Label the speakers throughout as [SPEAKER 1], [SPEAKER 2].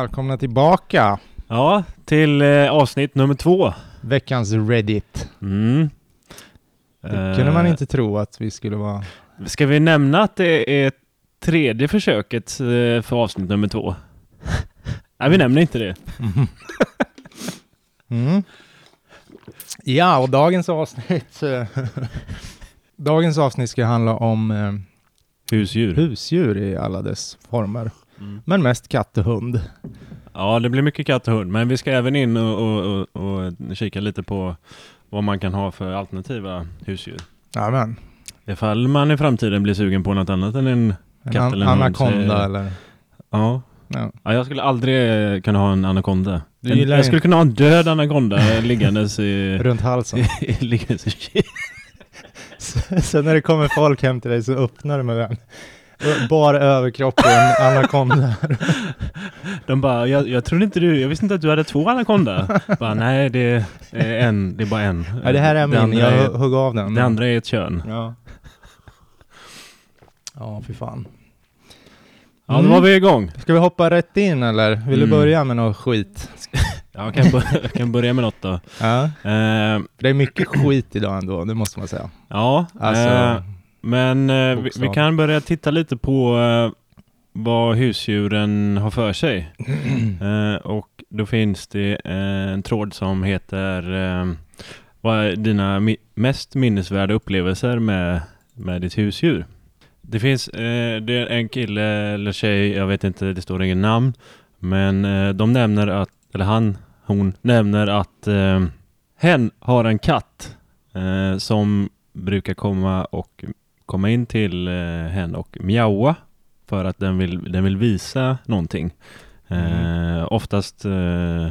[SPEAKER 1] Välkomna tillbaka!
[SPEAKER 2] Ja, till eh, avsnitt nummer två.
[SPEAKER 1] Veckans Reddit.
[SPEAKER 2] Mm.
[SPEAKER 1] Det kunde man
[SPEAKER 2] Eh,
[SPEAKER 1] inte tro att vi skulle vara.
[SPEAKER 2] Ska vi nämna att det är tredje försöket eh, för avsnitt nummer två? Nej, vi nämner inte det.
[SPEAKER 1] Mm. Ja, och dagens avsnitt... eh, dagens avsnitt ska handla om eh,
[SPEAKER 2] Husdjur.
[SPEAKER 1] husdjur i alla dess former.
[SPEAKER 2] Mm.
[SPEAKER 1] Men mest katt och hund.
[SPEAKER 2] Ja, det blir mycket katt och hund, men vi ska även in och, och, och, och kika lite på vad man kan ha för alternativa husdjur.
[SPEAKER 1] Jajamän.
[SPEAKER 2] Ifall man i framtiden blir sugen på något annat än en...
[SPEAKER 1] En
[SPEAKER 2] Katt
[SPEAKER 1] an-
[SPEAKER 2] eller en hund, eh,
[SPEAKER 1] anakonda
[SPEAKER 2] säger-
[SPEAKER 1] eller...
[SPEAKER 2] Ja.
[SPEAKER 1] Ja.
[SPEAKER 2] ja, jag skulle aldrig eh, kunna ha en anakonda.
[SPEAKER 1] Du
[SPEAKER 2] En-
[SPEAKER 1] gillar
[SPEAKER 2] jag
[SPEAKER 1] ju-
[SPEAKER 2] skulle kunna ha en död anakonda eh, liggandes i...
[SPEAKER 1] Runt halsen.
[SPEAKER 2] liggandes i
[SPEAKER 1] Sen när det kommer folk hem till dig så öppnar du med den. Bara överkropp och en anakonda.
[SPEAKER 2] De bara, jag, jag trodde inte du, jag visste inte att du hade två anakonda. bara, nej det är en, det är bara en.
[SPEAKER 1] Ja, det här är min,
[SPEAKER 2] andra
[SPEAKER 1] jag
[SPEAKER 2] är,
[SPEAKER 1] hugg av den.
[SPEAKER 2] det andra är ett kön.
[SPEAKER 1] Ja. Ja, fy fan.
[SPEAKER 2] Ja,
[SPEAKER 1] Mm.
[SPEAKER 2] då var vi igång.
[SPEAKER 1] Ska vi hoppa rätt in eller? Vill du
[SPEAKER 2] Mm.
[SPEAKER 1] börja med något skit?
[SPEAKER 2] Ja, jag, kan börja, jag kan börja med något då.
[SPEAKER 1] Ja.
[SPEAKER 2] Eh,
[SPEAKER 1] Det är mycket skit idag ändå, det måste man säga.
[SPEAKER 2] ja,
[SPEAKER 1] Alltså,
[SPEAKER 2] eh, men eh, vi, vi
[SPEAKER 1] bokstav.
[SPEAKER 2] kan börja titta lite på eh, vad husdjuren har för sig. Eh, och då finns det eh, en tråd som heter eh, Vad är dina mi- mest minnesvärda upplevelser med, med ditt husdjur? Det finns eh, det är en kille eller tjej, jag vet inte, det står ingen namn. Men eh, de nämner att, eller han, hon nämner att eh, hen har en katt eh, som brukar komma och komma in till eh, hen och mjaua för att den vill, den vill visa någonting. Eh, oftast eh,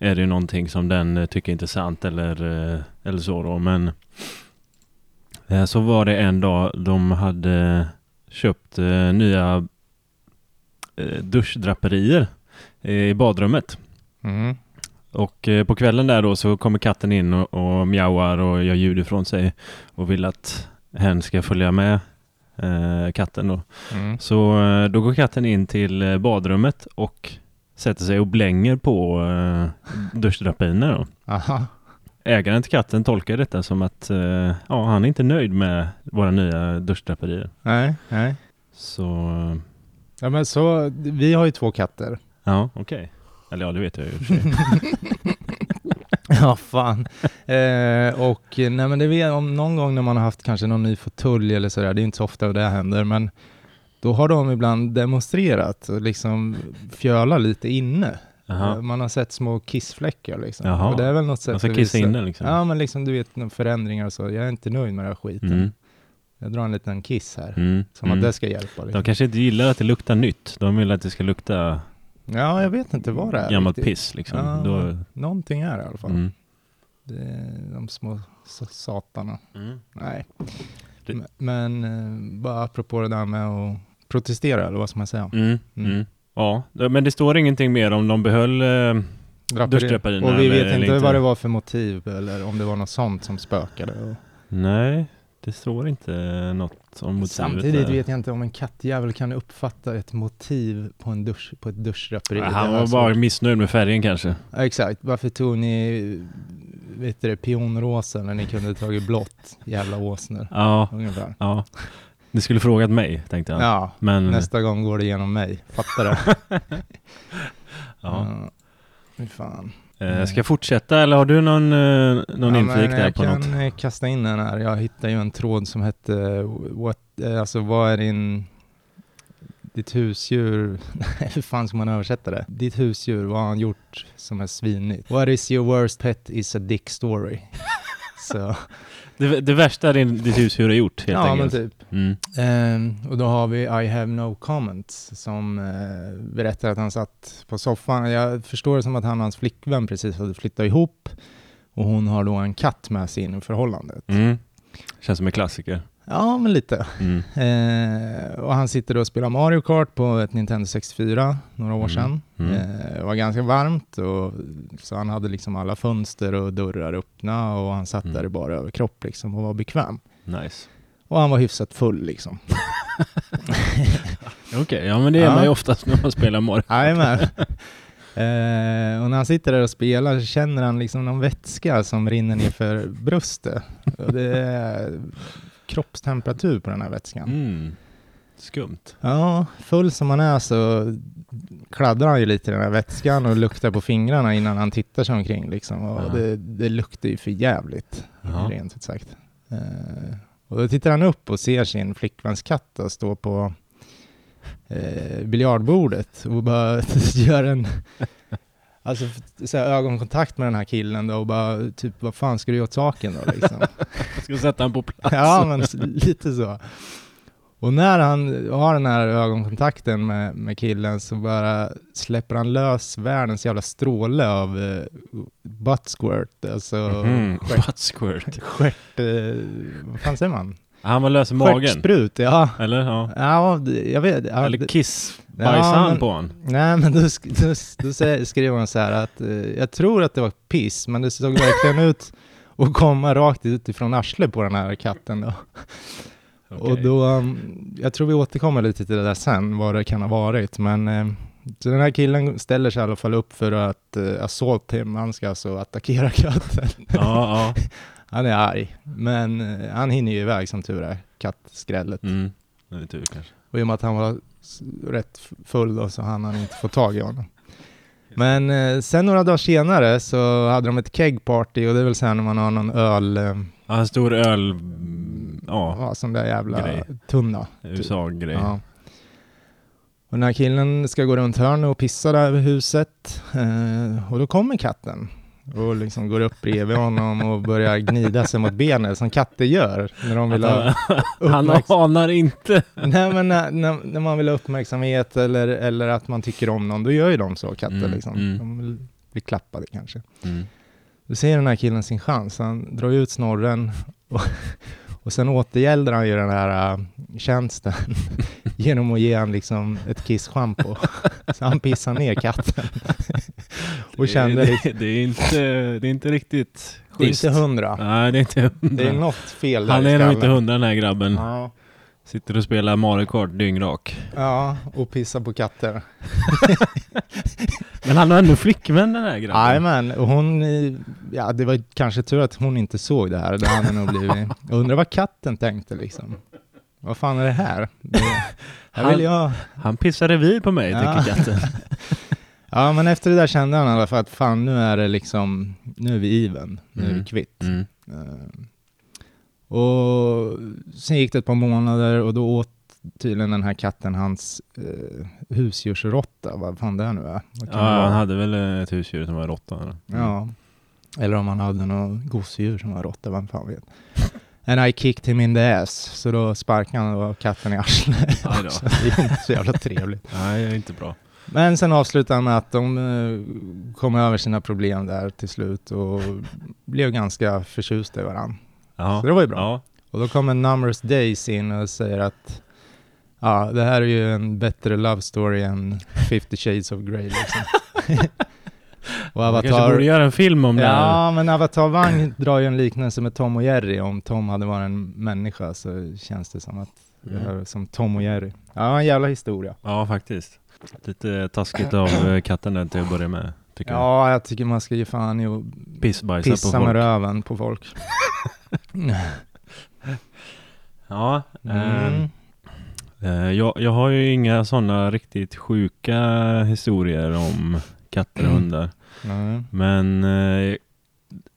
[SPEAKER 2] är det ju någonting som den eh, tycker är intressant eller, eh, eller så då, men eh, så var det en dag de hade köpt eh, nya eh, duschdraperier eh, i badrummet.
[SPEAKER 1] Mm.
[SPEAKER 2] Och eh, på kvällen där då så kommer katten in och, och mjauar och gör ljud ifrån sig och vill att hen ska följa med eh, katten då.
[SPEAKER 1] Mm.
[SPEAKER 2] Så eh, då går katten in till eh, badrummet och sätter sig och blänger på eh, duschdrapiner då.
[SPEAKER 1] Aha.
[SPEAKER 2] Ägaren till katten tolkar detta som att eh, ja, han är inte nöjd med våra nya duschdraperier.
[SPEAKER 1] Nej, nej.
[SPEAKER 2] Så eh,
[SPEAKER 1] Ja, men så, vi har ju två katter.
[SPEAKER 2] ja, okej. Eller ja, det vet jag ju i och för sig.
[SPEAKER 1] Ja, fan. Eh, och eh, nej, men det vet om någon gång när man har haft kanske någon ny fåtölj eller sådär, det är inte så ofta det händer, men då har de ibland demonstrerat och liksom fjöla lite inne. Eh,
[SPEAKER 2] Jaha.
[SPEAKER 1] Man har sett små kissfläckar liksom.
[SPEAKER 2] Jaha.
[SPEAKER 1] Och det är väl något sätt
[SPEAKER 2] Man ska
[SPEAKER 1] att
[SPEAKER 2] kissa
[SPEAKER 1] visa-
[SPEAKER 2] in den liksom.
[SPEAKER 1] Ja, men liksom du vet några förändringar och så. Jag är inte nöjd med den här skiten.
[SPEAKER 2] Mm,
[SPEAKER 1] Jag drar en liten kiss här.
[SPEAKER 2] mm,
[SPEAKER 1] Som
[SPEAKER 2] mm.
[SPEAKER 1] att det ska hjälpa. Liksom.
[SPEAKER 2] De kanske inte gillar att det luktar nytt. De vill att det ska lukta
[SPEAKER 1] Ja, jag vet inte vad det är.
[SPEAKER 2] gammalt
[SPEAKER 1] riktigt.
[SPEAKER 2] piss liksom.
[SPEAKER 1] Ja,
[SPEAKER 2] Då,
[SPEAKER 1] Någonting är det i alla fall.
[SPEAKER 2] mm.
[SPEAKER 1] Det är de små s- satarna.
[SPEAKER 2] Mm.
[SPEAKER 1] Nej.
[SPEAKER 2] Det-
[SPEAKER 1] M- Men eh, bara apropå det där med att protestera, eller vad ska man säga?
[SPEAKER 2] Mm.
[SPEAKER 1] Mm.
[SPEAKER 2] Mm. Ja, men det står ingenting mer om de behöll... Eh,
[SPEAKER 1] Draperi-
[SPEAKER 2] Duschdraperierna
[SPEAKER 1] Och vi
[SPEAKER 2] eller-
[SPEAKER 1] vet
[SPEAKER 2] eller
[SPEAKER 1] inte
[SPEAKER 2] inte.
[SPEAKER 1] vad det var för motiv, eller om det var något sånt som spökade.
[SPEAKER 2] nej, det står inte något om motivet.
[SPEAKER 1] Samtidigt
[SPEAKER 2] där.
[SPEAKER 1] vet jag inte om en kattjävel kan uppfatta ett motiv på, en dusch, på ett duschdraperi.
[SPEAKER 2] Ja,
[SPEAKER 1] Det alltså.
[SPEAKER 2] Han
[SPEAKER 1] har
[SPEAKER 2] var
[SPEAKER 1] jag
[SPEAKER 2] bara missnöjd med färgen kanske.
[SPEAKER 1] Ja, exakt. Varför tog ni vet du, det, pionrosa när ni kunde tagit blått? Jävla åsnor.
[SPEAKER 2] Ja,
[SPEAKER 1] Ungefär.
[SPEAKER 2] ja. Ni skulle frågat mig, tänkte jag.
[SPEAKER 1] Ja,
[SPEAKER 2] Men,
[SPEAKER 1] nästa gång går det genom mig. Fattar du?
[SPEAKER 2] ja.
[SPEAKER 1] Fy fan.
[SPEAKER 2] Eh, ska jag fortsätta eller har du någon, eh, någon
[SPEAKER 1] ja, men
[SPEAKER 2] inflik där
[SPEAKER 1] jag
[SPEAKER 2] på
[SPEAKER 1] kan
[SPEAKER 2] något?
[SPEAKER 1] eh, kasta in den här. Jag hittade ju en tråd som hette eh, what, eh, alltså, vad är din... Ditt husdjur... Nej, hur fan ska man översätta det? Ditt husdjur, vad har han gjort som är svinigt? What is your worst pet is a dick story. Så,
[SPEAKER 2] Det, det värsta din, ditt husdjur har gjort helt
[SPEAKER 1] ja, men
[SPEAKER 2] enkelt.
[SPEAKER 1] typ.
[SPEAKER 2] Mm.
[SPEAKER 1] Ehm, och då har vi I have no comments som eh, berättar att han satt på soffan. Jag förstår det som att han och hans flickvän precis hade flyttat ihop och hon har då en katt med sig in i förhållandet.
[SPEAKER 2] Mm. Känns som en klassiker.
[SPEAKER 1] Ja, men lite.
[SPEAKER 2] Mm.
[SPEAKER 1] Ehm, och han sitter då och spelar Mario Kart på ett Nintendo 64 några år
[SPEAKER 2] Mm,
[SPEAKER 1] sedan.
[SPEAKER 2] mm.
[SPEAKER 1] Ehm, det var ganska varmt och så han hade liksom alla fönster och dörrar öppna och han satt
[SPEAKER 2] Mm.
[SPEAKER 1] där i bara överkropp liksom och var bekväm.
[SPEAKER 2] Nice.
[SPEAKER 1] Och han var hyfsat full liksom.
[SPEAKER 2] Okej, ja men det är
[SPEAKER 1] Ja.
[SPEAKER 2] man ju oftast när man spelar Mario.
[SPEAKER 1] Jajamän. Eh, och när han sitter där och spelar så känner han liksom någon vätska som rinner ner för bröstet. Och det är kroppstemperatur på den här vätskan.
[SPEAKER 2] Mm. Skumt.
[SPEAKER 1] Ja, full som han är så kladdar han ju lite i den här vätskan och luktar på fingrarna innan han tittar sig omkring. Liksom. Och
[SPEAKER 2] Ja.
[SPEAKER 1] det, det luktar ju för jävligt,
[SPEAKER 2] Ja.
[SPEAKER 1] rent ut sagt. Eh, och då tittar han upp och ser sin flickväns katt då stå på eh, biljardbordet och bara gör en Alltså f- så här, ögonkontakt med den här killen då och bara typ vad fan ska du göra åt saken då liksom?
[SPEAKER 2] Jag ska sätta den på plats.
[SPEAKER 1] Ja, men s- lite så. Och när han har den här ögonkontakten med, med killen så bara släpper han lös världens jävla stråle av eh, butt squirt, alltså
[SPEAKER 2] Mhm.
[SPEAKER 1] stjärt,
[SPEAKER 2] Butt squirt.
[SPEAKER 1] stjärt, eh, vad fan säger man?
[SPEAKER 2] Han var lös i magen.
[SPEAKER 1] Stjärtsprut, ja.
[SPEAKER 2] Eller? Ja.
[SPEAKER 1] Ja, det- jag vet. Ja,
[SPEAKER 2] Eller
[SPEAKER 1] det-
[SPEAKER 2] kiss.
[SPEAKER 1] Ja,
[SPEAKER 2] Bajsade han
[SPEAKER 1] men-
[SPEAKER 2] på honom?
[SPEAKER 1] nej, men då, sk- då, s- då sä- skrev han så här att eh, jag tror att det var piss, men det såg verkligen ut att komma rakt utifrån arslet på den här katten då. Och
[SPEAKER 2] Okej.
[SPEAKER 1] då, um, jag tror vi återkommer lite till det där sen, vad det kan ha varit, men eh, så den här killen ställer sig i alla fall upp för att eh, assault him, han ska alltså attackera katten.
[SPEAKER 2] Ja, ja.
[SPEAKER 1] Han är arg, men eh, han hinner ju iväg som tur är, kattskrället.
[SPEAKER 2] Mm. Det är tur kanske.
[SPEAKER 1] Och i och med att han var s- rätt f- full då, så hann han inte få tag i honom. Men eh, sen några dagar senare så hade de ett kegparty och det är väl så här när man har någon öl, eh,
[SPEAKER 2] Ja, en stor öl... mm, Ja,
[SPEAKER 1] ja, sån där jävla
[SPEAKER 2] Grej.
[SPEAKER 1] tunna.
[SPEAKER 2] USA-grej.
[SPEAKER 1] Ja. Och den här killen ska gå runt hörnet och pissa där över huset. Eh, och då kommer katten och liksom går upp bredvid honom och börjar gnida sig mot benet som katter gör när de vill ha
[SPEAKER 2] Att Han,
[SPEAKER 1] uppmärksamhet.
[SPEAKER 2] han anar inte.
[SPEAKER 1] Nej, men när, när, när man vill ha uppmärksamhet eller, eller att man tycker om någon, då gör ju de så, katter
[SPEAKER 2] Mm,
[SPEAKER 1] liksom.
[SPEAKER 2] mm.
[SPEAKER 1] De vill bli klappade kanske. Då ser den här killen sin chans. Han drar ut snorren och, och sen återgäldar han ju den här äh, tjänsten genom att ge han liksom ett kisschampo. Så han pissar ner katten.
[SPEAKER 2] Det är-
[SPEAKER 1] Och kände liksom,
[SPEAKER 2] det, det, är inte, det är inte riktigt
[SPEAKER 1] det är
[SPEAKER 2] schysst.
[SPEAKER 1] inte hundra.
[SPEAKER 2] Nej, det är inte hundra.
[SPEAKER 1] Det är något fel där
[SPEAKER 2] han
[SPEAKER 1] i
[SPEAKER 2] är nog
[SPEAKER 1] skallen.
[SPEAKER 2] inte hundra den här grabben.
[SPEAKER 1] Ja.
[SPEAKER 2] Sitter och spelar Mario Kart dyngrak.
[SPEAKER 1] ja, och pissar på katter.
[SPEAKER 2] Men han har ändå flickvän den här grabben.
[SPEAKER 1] Jajamän, och hon, eh, ja det var kanske tur att hon inte såg det här, det hade nog blivit. Jag undrar vad katten tänkte liksom. Vad fan är det här? Det, här vill jag...
[SPEAKER 2] Han pissar revir på mig,
[SPEAKER 1] Ja.
[SPEAKER 2] tänker katten.
[SPEAKER 1] Ja men efter det där kände han i alla fall att fan nu är det liksom, nu är vi even, nu är vi
[SPEAKER 2] Mm.
[SPEAKER 1] kvitt.
[SPEAKER 2] Mm.
[SPEAKER 1] Eh, Och sen gick det ett par månader och då åt tydligen den här katten hans eh, husdjursråtta, vad fan det är nu är. Vad
[SPEAKER 2] Ja,
[SPEAKER 1] kan det vara?
[SPEAKER 2] han hade väl ett husdjur som var råtta. eller? Mm.
[SPEAKER 1] Ja. Eller om han hade något gosedjur som var råtta, vem fan vet. And I kicked him in the ass, så då sparkade han då katten i arslet.
[SPEAKER 2] Aj då.
[SPEAKER 1] Så det är inte så jävla trevligt.
[SPEAKER 2] Nej, det är inte bra.
[SPEAKER 1] Men sen avslutade han med att de eh, kom över sina problem där till slut och blev ganska förtjusta i varandra.
[SPEAKER 2] Ja.
[SPEAKER 1] Så det var ju bra.
[SPEAKER 2] Ja.
[SPEAKER 1] Och då kommer Numerous Days in och säger att ja, det här är ju en bättre love story än 50 shades of Grey liksom. och
[SPEAKER 2] Man kanske borde göra en film om det här.
[SPEAKER 1] Ja, men Avatar Wang drar ju en liknelse med Tom och Jerry. Om Tom hade varit en människa så känns det som att det här är som Tom och Jerry. Ja, en jävla historia.
[SPEAKER 2] Mm. Ja, faktiskt. Lite taskigt av eh, katten där till att börja med, tycker jag.
[SPEAKER 1] Ja, jag tycker man ska ge fan i att
[SPEAKER 2] Pissbajsa på
[SPEAKER 1] pissa med
[SPEAKER 2] folk.
[SPEAKER 1] röven på folk.
[SPEAKER 2] Ja, eh,
[SPEAKER 1] Mm.
[SPEAKER 2] eh, jag, jag har ju inga sådana riktigt sjuka historier om katter och hundar.
[SPEAKER 1] Nej.
[SPEAKER 2] Men eh,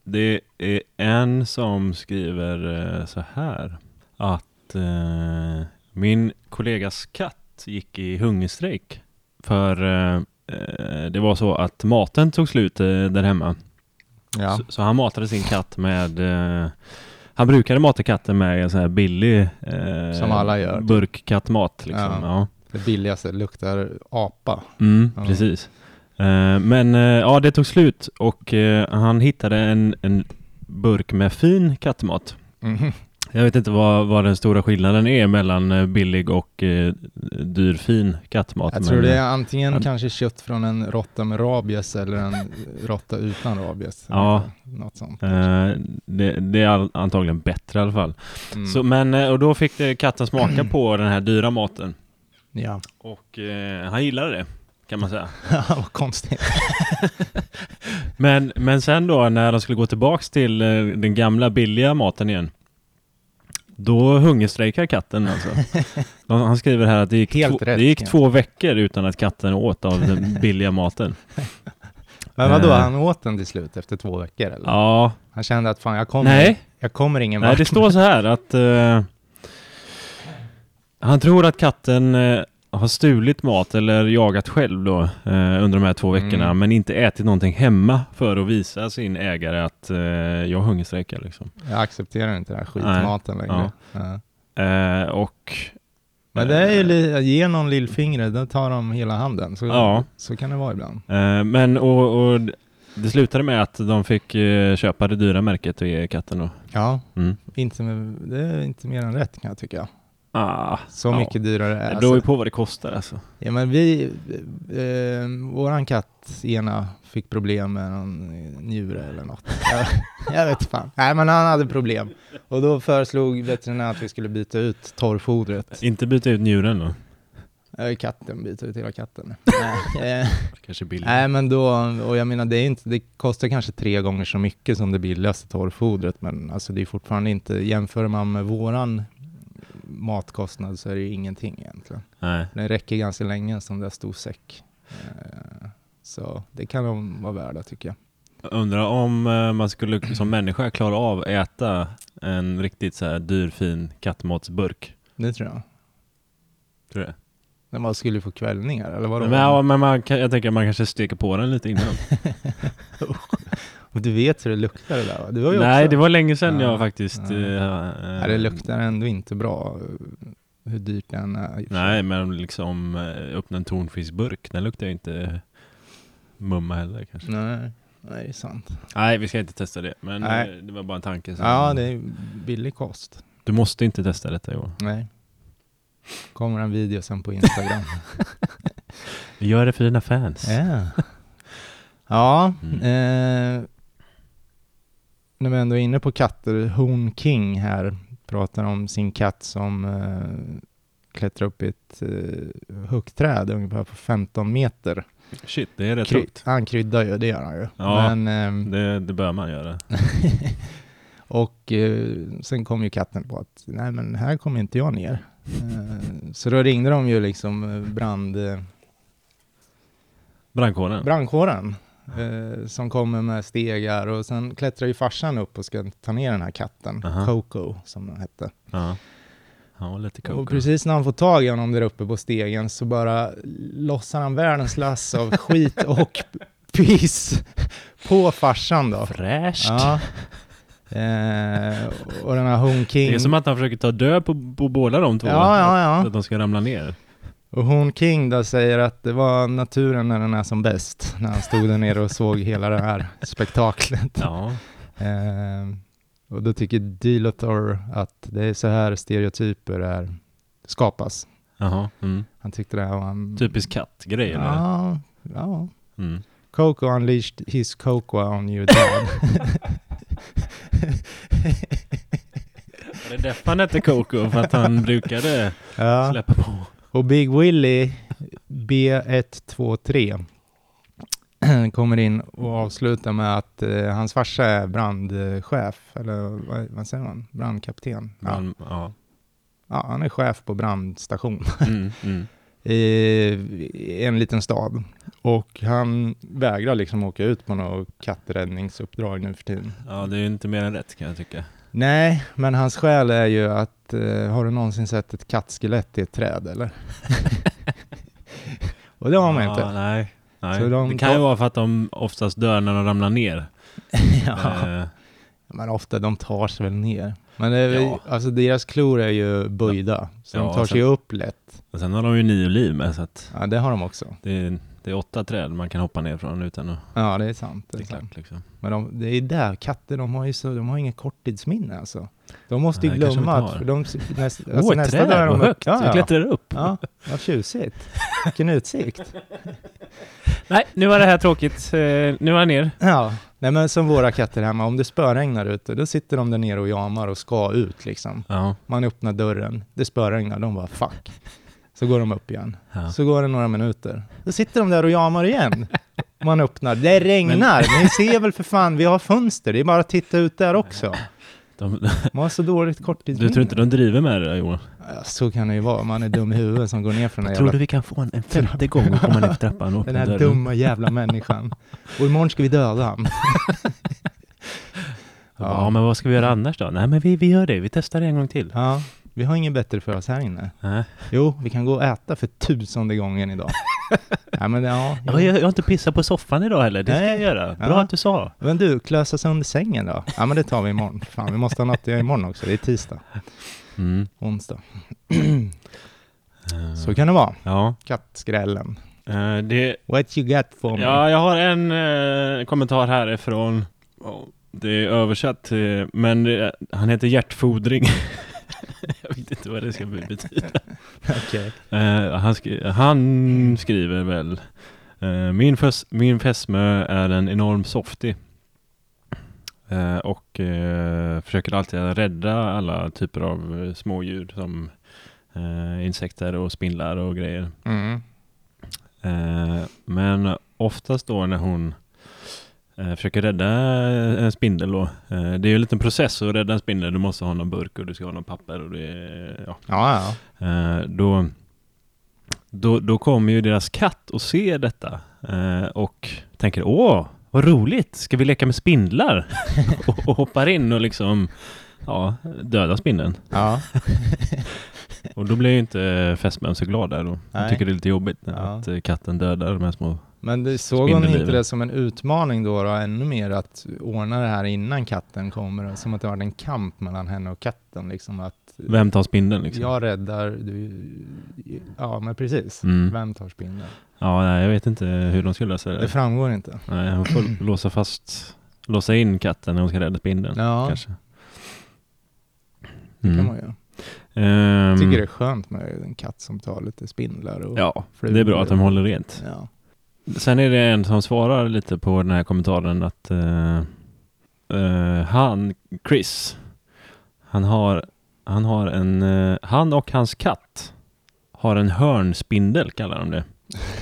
[SPEAKER 2] det är en som skriver eh, så här att eh, min kollegas katt gick i hungerstrejk för eh, eh, det var så att maten tog slut eh, där hemma.
[SPEAKER 1] Ja.
[SPEAKER 2] Så, så han matade sin katt med eh, han brukade mata katten med en sån här billig eh,
[SPEAKER 1] Som alla gör, typ.
[SPEAKER 2] burk kattmat. Liksom.
[SPEAKER 1] Ja.
[SPEAKER 2] Ja.
[SPEAKER 1] Det billigaste luktar apa.
[SPEAKER 2] Mm,
[SPEAKER 1] Ja.
[SPEAKER 2] precis. Eh, men eh, ja, det tog slut och eh, han hittade en, en burk med fin kattmat.
[SPEAKER 1] Mhm.
[SPEAKER 2] Jag vet inte vad, vad den stora skillnaden är mellan eh, billig och eh, dyr fin kattmat.
[SPEAKER 1] Jag tror
[SPEAKER 2] men,
[SPEAKER 1] det
[SPEAKER 2] eh,
[SPEAKER 1] är antingen
[SPEAKER 2] Ja.
[SPEAKER 1] kanske kött från en råtta med rabies eller en råtta utan rabies.
[SPEAKER 2] Ja.
[SPEAKER 1] Något sånt.
[SPEAKER 2] eh, det, det är all- antagligen bättre i alla fall.
[SPEAKER 1] Mm.
[SPEAKER 2] Så, men, eh, och då fick eh, katten smaka på den här dyra maten
[SPEAKER 1] ja.
[SPEAKER 2] och eh, han gillade det kan man säga.
[SPEAKER 1] Ja, vad konstigt.
[SPEAKER 2] Men, men sen då när de skulle gå tillbaks till eh, den gamla billiga maten igen. Då hungerstrejkar katten alltså. De- Han skriver här att det gick,
[SPEAKER 1] Helt
[SPEAKER 2] två,
[SPEAKER 1] rätt,
[SPEAKER 2] det gick
[SPEAKER 1] ja.
[SPEAKER 2] två veckor utan att katten åt av den billiga maten.
[SPEAKER 1] Men vadå,
[SPEAKER 2] Eh.
[SPEAKER 1] han åt den till slut efter två veckor eller?
[SPEAKER 2] Ja,
[SPEAKER 1] Han kände att fan, jag kommer,
[SPEAKER 2] nej,
[SPEAKER 1] jag kommer ingen
[SPEAKER 2] nej,
[SPEAKER 1] vart.
[SPEAKER 2] det står så här att eh, han tror att katten eh, har stulit mat eller jagat själv då eh, under de här två veckorna,
[SPEAKER 1] Mm.
[SPEAKER 2] men inte ätit någonting hemma för att visa sin ägare att eh, jag hungerstrejkar liksom.
[SPEAKER 1] Jag accepterar inte den här skitmaten längre. Ja.
[SPEAKER 2] Eh, och
[SPEAKER 1] Men det är ju, li- ge någon lillfingret, då tar de hela handen. Så,
[SPEAKER 2] Ja.
[SPEAKER 1] så kan det vara ibland.
[SPEAKER 2] eh, men och, och det slutade med att de fick eh, köpa det dyra märket och ge katten då.
[SPEAKER 1] Ja,
[SPEAKER 2] Mm.
[SPEAKER 1] inte med, det är inte mer än rätt kan jag tycka.
[SPEAKER 2] Ah,
[SPEAKER 1] Så
[SPEAKER 2] Ja.
[SPEAKER 1] mycket dyrare är det.
[SPEAKER 2] det beror ju
[SPEAKER 1] Alltså.
[SPEAKER 2] på vad det kostar alltså.
[SPEAKER 1] Ja, men vi, eh, våran katt ena fick problem med någon njure eller något. Jag, jag vet fan. Nej, men han hade problem. Och då föreslog veterinären att vi skulle byta ut torrfodret.
[SPEAKER 2] Inte byta ut njuren då?
[SPEAKER 1] Eh, Katten, byta ut hela katten. Nej, eh,
[SPEAKER 2] Kanske billigt.
[SPEAKER 1] Nej men då, och jag menar det, är inte, det kostar kanske tre gånger så mycket som det billigaste torrfodret men alltså det är fortfarande inte, jämför man med våran matkostnad så är det ju ingenting egentligen.
[SPEAKER 2] Nej.
[SPEAKER 1] Den räcker ganska länge som där stor säck. Eh, Så det kan de vara värda tycker jag.
[SPEAKER 2] Jag Undrar om eh, man skulle som människa klara av att äta en riktigt så här dyr fin kattmatsburk.
[SPEAKER 1] Det tror jag.
[SPEAKER 2] Tror du det?
[SPEAKER 1] När man skulle få kvällningar eller vadå?
[SPEAKER 2] Men, ja, men man, kan- jag tänker att man kanske steker på den lite innan.
[SPEAKER 1] Och Du vet hur det luktar det där va? Du har ju
[SPEAKER 2] Nej,
[SPEAKER 1] också...
[SPEAKER 2] det var länge sedan
[SPEAKER 1] Ja.
[SPEAKER 2] jag faktiskt...
[SPEAKER 1] Ja.
[SPEAKER 2] eh,
[SPEAKER 1] Nej, det luktar ändå inte bra eh, hur dyrt det än är. i och för sig.
[SPEAKER 2] Nej, men liksom eh, öppna en tonfiskburk, den luktar ju inte mumma heller kanske.
[SPEAKER 1] Nej, nej det är sant.
[SPEAKER 2] Nej, vi ska inte testa det, men
[SPEAKER 1] Nej.
[SPEAKER 2] eh, det var bara en tanke. som-
[SPEAKER 1] Ja, det är billig kost.
[SPEAKER 2] Du måste inte testa detta Johan.
[SPEAKER 1] Nej. Kommer en video sen på Instagram.
[SPEAKER 2] Vi gör det för dina fans.
[SPEAKER 1] Ja. Ja.
[SPEAKER 2] Mm.
[SPEAKER 1] Eh, när vi ändå är inne på katter, Hon King här pratar om sin katt som eh, klättrar upp i ett eh, högträd ungefär på 15 meter.
[SPEAKER 2] Shit, det är rätt
[SPEAKER 1] Kry-
[SPEAKER 2] tungt.
[SPEAKER 1] han kryddar ju, det gör han ju.
[SPEAKER 2] Ja.
[SPEAKER 1] Men, ehm,
[SPEAKER 2] Det, det bör man göra.
[SPEAKER 1] och eh, sen kom ju katten på att nej men här kommer inte jag ner. Eh, så då ringde de ju liksom eh, brand... Eh,
[SPEAKER 2] Brandkåren.
[SPEAKER 1] brandkåren eh, som kommer med stegar och sen klättrar ju farsan upp och ska ta ner den här katten,
[SPEAKER 2] Aha.
[SPEAKER 1] Coco som den hette.
[SPEAKER 2] ja. Han var lite
[SPEAKER 1] Och
[SPEAKER 2] koko.
[SPEAKER 1] precis när han får tag i honom där uppe på stegen så bara lossar han världens lass av skit och piss på farsan då.
[SPEAKER 2] Fräscht.
[SPEAKER 1] Ja. Eh, och den här Hon King.
[SPEAKER 2] Det är som att han försöker ta död på, på båda de två.
[SPEAKER 1] Ja, ja, ja.
[SPEAKER 2] Att de ska ramla ner.
[SPEAKER 1] Och hon King då säger att det var naturen när den är som bäst, när han stod där nere och såg hela det här spektaklet.
[SPEAKER 2] Ja.
[SPEAKER 1] Ehm, och då tycker Dilator att det är så här stereotyper är, skapas.
[SPEAKER 2] Jaha. Mm.
[SPEAKER 1] Han tyckte det här var en...
[SPEAKER 2] Typisk kattgrej. eller?
[SPEAKER 1] Ja, ja.
[SPEAKER 2] Mm.
[SPEAKER 1] Coco unleashed his cocoa on you dad.
[SPEAKER 2] Var det därför han hette Coco? För att han brukade
[SPEAKER 1] ja.
[SPEAKER 2] släppa på?
[SPEAKER 1] Och Big Willy B123 kommer in och avslutar med att eh, hans farsa är brandchef, eller vad, vad säger man? Brandkapten. Ja.
[SPEAKER 2] Men, ja.
[SPEAKER 1] ja, han är chef på brandstation.
[SPEAKER 2] Mm, mm.
[SPEAKER 1] i en liten stad. Och han vägrar liksom åka ut på något katträddningsuppdrag nu för tiden.
[SPEAKER 2] ja, det är ju inte mer än rätt kan jag tycka.
[SPEAKER 1] Nej, men hans skäl är ju att eh, har du någonsin sett ett kattskelett i ett träd eller? och det har man
[SPEAKER 2] Ja,
[SPEAKER 1] inte.
[SPEAKER 2] nej.
[SPEAKER 1] Så
[SPEAKER 2] nej.
[SPEAKER 1] de
[SPEAKER 2] det kan ju
[SPEAKER 1] tar-
[SPEAKER 2] vara för att de oftast dör när de ramlar ner.
[SPEAKER 1] ja.
[SPEAKER 2] Eh,
[SPEAKER 1] Men ofta, de tar sig väl ner. Men det är, väl-
[SPEAKER 2] Ja.
[SPEAKER 1] alltså, deras klor är ju böjda, så
[SPEAKER 2] Ja,
[SPEAKER 1] de tar sig
[SPEAKER 2] sen-
[SPEAKER 1] upp lätt.
[SPEAKER 2] och sen har de ju nio liv med så att
[SPEAKER 1] Ja, det har de också.
[SPEAKER 2] det är, det är åtta träd man kan hoppa ner från utan att...
[SPEAKER 1] Ja, det är sant. Det är sant.
[SPEAKER 2] Exakt, liksom.
[SPEAKER 1] Men de, det är där, katter de har ju så, de har inget korttidsminne alltså. De måste ju
[SPEAKER 2] Nej, kanske
[SPEAKER 1] glömma
[SPEAKER 2] de inte
[SPEAKER 1] att,
[SPEAKER 2] har.
[SPEAKER 1] för de, näst,
[SPEAKER 2] Åh,
[SPEAKER 1] alltså
[SPEAKER 2] ett
[SPEAKER 1] nästa
[SPEAKER 2] träd!
[SPEAKER 1] dag är de
[SPEAKER 2] Vad högt!
[SPEAKER 1] Ja,
[SPEAKER 2] Jag
[SPEAKER 1] ja.
[SPEAKER 2] klättrar upp.
[SPEAKER 1] ja, vad tjusigt. Vilken utsikt.
[SPEAKER 2] Nej, nu var det här tråkigt. Eh, nu var jag ner.
[SPEAKER 1] Ja, nej men som våra katter hemma, om det spöregnar ute, då sitter de där nere och jamar och ska ut liksom.
[SPEAKER 2] Ja.
[SPEAKER 1] Man öppnar dörren, det spöregnar, de bara fuck. Så går de upp igen.
[SPEAKER 2] Ja.
[SPEAKER 1] Så går det några minuter. Då sitter de där och jamar igen. Man öppnar. Det regnar. Ni ser väl för fan, vi har fönster. Det är bara att titta ut där också.
[SPEAKER 2] De,
[SPEAKER 1] Man har så dåligt
[SPEAKER 2] du
[SPEAKER 1] korttidsminne.
[SPEAKER 2] tror inte de driver med det där, Johan?
[SPEAKER 1] Ja, Så kan det ju vara. Man är dum i huvudet som går ner från den,
[SPEAKER 2] Tror du
[SPEAKER 1] jävla,
[SPEAKER 2] vi kan få en, en femte gång och komma ner för trappan och
[SPEAKER 1] den
[SPEAKER 2] öppna
[SPEAKER 1] här
[SPEAKER 2] dörren?
[SPEAKER 1] dumma jävla människan. Och imorgon ska vi döda han.
[SPEAKER 2] Ja, men vad ska vi göra annars då? Nej, men vi, vi gör det. Vi testar det en gång till.
[SPEAKER 1] Ja, vi har inget bättre för oss här inne.
[SPEAKER 2] Nej.
[SPEAKER 1] Jo, vi kan gå och äta för tusende gången idag. Nej, men ja.
[SPEAKER 2] Ja, Jag, jag har inte pissat på soffan idag heller. Det ska
[SPEAKER 1] Nej.
[SPEAKER 2] jag göra. Bra
[SPEAKER 1] Ja.
[SPEAKER 2] att du sa.
[SPEAKER 1] Men du, klösa sönder sängen då? Ja, men det tar vi imorgon. Fan, vi måste ha något att göra imorgon också. Det är tisdag,
[SPEAKER 2] Mm.
[SPEAKER 1] onsdag.
[SPEAKER 2] Eh,
[SPEAKER 1] Så kan det vara.
[SPEAKER 2] Ja,
[SPEAKER 1] Kattskrällen.
[SPEAKER 2] Eh, det,
[SPEAKER 1] What you got for me?
[SPEAKER 2] ja, jag har en eh, kommentar härifrån. Det är översatt, eh, men det, han heter hjärtfodring. jag vet inte vad det ska betyda.
[SPEAKER 1] Okej.
[SPEAKER 2] Eh, han, skri- han skriver väl eh, min, fäs- min fästmö är en enorm softie Eh, och eh, försöker alltid att rädda alla typer av eh, smådjur som eh, insekter och spindlar och grejer.
[SPEAKER 1] Mm.
[SPEAKER 2] Eh, men oftast då när hon eh, försöker rädda en spindel då. Eh, det är ju en liten process att rädda en spindel. Du måste ha någon burk och du ska ha någon papper och det är, ja,
[SPEAKER 1] Ja, ja.
[SPEAKER 2] Eh, då, då, då kommer ju deras katt och ser detta eh, och tänker åh, vad roligt, ska vi leka med spindlar? och, och hoppar in och liksom ja, dödar spindeln.
[SPEAKER 1] ja.
[SPEAKER 2] Och då blir ju inte fästmön så glad där då. Hon
[SPEAKER 1] Nej.
[SPEAKER 2] tycker det är lite jobbigt
[SPEAKER 1] Ja.
[SPEAKER 2] att eh, katten dödar de här små.
[SPEAKER 1] Men du, såg hon inte
[SPEAKER 2] Spindellivet.
[SPEAKER 1] det som en utmaning då, då, ännu mer att ordna det här innan katten kommer? Som att det var en kamp mellan henne och katten, liksom att
[SPEAKER 2] Vem tar spindeln liksom?
[SPEAKER 1] jag räddar, du... Ja, men precis.
[SPEAKER 2] Mm.
[SPEAKER 1] Vem tar spindeln?
[SPEAKER 2] Ja, nej, jag vet inte hur de skulle lösa det.
[SPEAKER 1] Det framgår inte.
[SPEAKER 2] Nej, hon får låsa fast, låsa in katten när hon ska rädda spindeln.
[SPEAKER 1] Ja,
[SPEAKER 2] Kanske.
[SPEAKER 1] det kan
[SPEAKER 2] Mm.
[SPEAKER 1] man göra.
[SPEAKER 2] Ehm,
[SPEAKER 1] Jag tycker det är skönt med en katt som tar lite spindlar och...
[SPEAKER 2] Ja,
[SPEAKER 1] flugor.
[SPEAKER 2] det är bra att de håller rent.
[SPEAKER 1] Ja.
[SPEAKER 2] Sen är det en som svarar lite på den här kommentaren att eh, eh, han, Chris, han har, han har en, eh, han och hans katt har en hörnspindel kallar de det,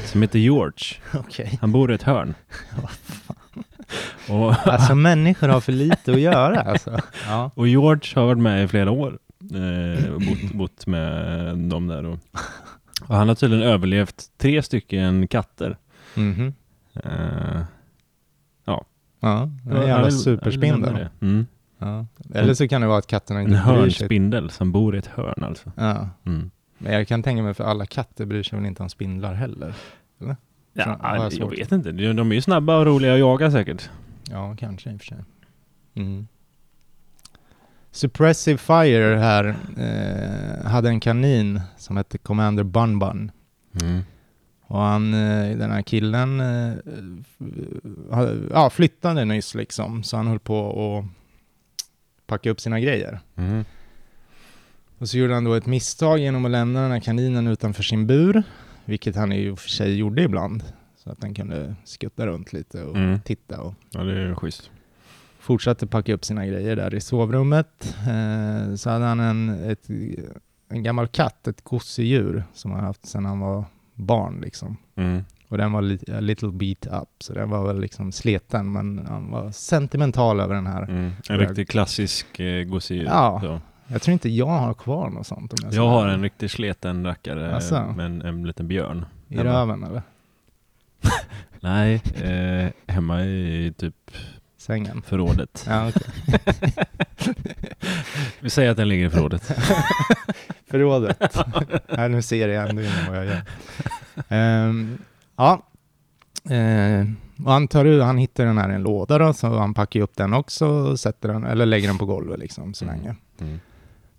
[SPEAKER 2] som heter George.
[SPEAKER 1] Okej.
[SPEAKER 2] Han bor i ett hörn. och,
[SPEAKER 1] Alltså människor har för lite att göra alltså. Ja.
[SPEAKER 2] och George har varit med i flera år eh, och bott, bott med dem där. Och, och han har tydligen överlevt tre stycken katter. Mm-hmm.
[SPEAKER 1] Mhm.
[SPEAKER 2] Eh,
[SPEAKER 1] Ja, det är en
[SPEAKER 2] Ja,
[SPEAKER 1] jävla
[SPEAKER 2] jag vill- jag vill
[SPEAKER 1] superspindel.
[SPEAKER 2] nämna det. Mm.
[SPEAKER 1] Ja. Eller så kan det vara att katterna
[SPEAKER 2] En
[SPEAKER 1] inte bryr sig.
[SPEAKER 2] hörnspindel som bor i ett hörn alltså.
[SPEAKER 1] Ja.
[SPEAKER 2] Mm.
[SPEAKER 1] Men jag kan tänka mig för alla katter bryr sig väl inte om spindlar heller? Fan, vad
[SPEAKER 2] Ja, jag
[SPEAKER 1] svårt.
[SPEAKER 2] vet inte. De de är ju snabba och roliga att jaga säkert.
[SPEAKER 1] Ja, kanske i och för sig. Mm. Suppressive Fire här eh, hade en kanin som hette Commander Bun Bun. Mm. Och han, eh, den här killen, eh, eh, ja, flyttade nyss liksom, så han höll på att packa upp sina grejer.
[SPEAKER 2] Mm.
[SPEAKER 1] Och så gjorde han då ett misstag genom att lämna den här kaninen utanför sin bur, vilket han ju i och för sig gjorde ibland, så att den kunde skutta runt lite och
[SPEAKER 2] Mm.
[SPEAKER 1] titta och
[SPEAKER 2] Ja, det är ju schysst.
[SPEAKER 1] fortsatte packa upp sina grejer där i sovrummet. Eh, så hade han en, ett, en gammal katt, ett gosedjur, som han haft sedan han var barn liksom.
[SPEAKER 2] Mm.
[SPEAKER 1] Och den var li- a little beat up, så den var väl liksom sleten, men han var sentimental över den här.
[SPEAKER 2] Mm. En riktig klassisk eh, gosedjur.
[SPEAKER 1] Ja. alltså.
[SPEAKER 2] Så.
[SPEAKER 1] Jag tror inte jag har kvar något sånt. Om jag, ska
[SPEAKER 2] Jag har
[SPEAKER 1] vara
[SPEAKER 2] en riktig sleten rackare
[SPEAKER 1] Asså.
[SPEAKER 2] med en, en liten björn.
[SPEAKER 1] I röven eller?
[SPEAKER 2] Nej, eh, hemma i typ
[SPEAKER 1] Sängen?
[SPEAKER 2] förrådet.
[SPEAKER 1] Ja, okej.
[SPEAKER 2] Vi säger att den ligger i förrådet.
[SPEAKER 1] Förrådet. Nej, nu ser jag ändå inte vad jag gör. Ehm, ja. Ehm, och han tar ut, han hittar den här i en låda då, så han packar ju upp den också och sätter den, eller lägger den på golvet liksom så
[SPEAKER 2] Mm.
[SPEAKER 1] länge.
[SPEAKER 2] Mm.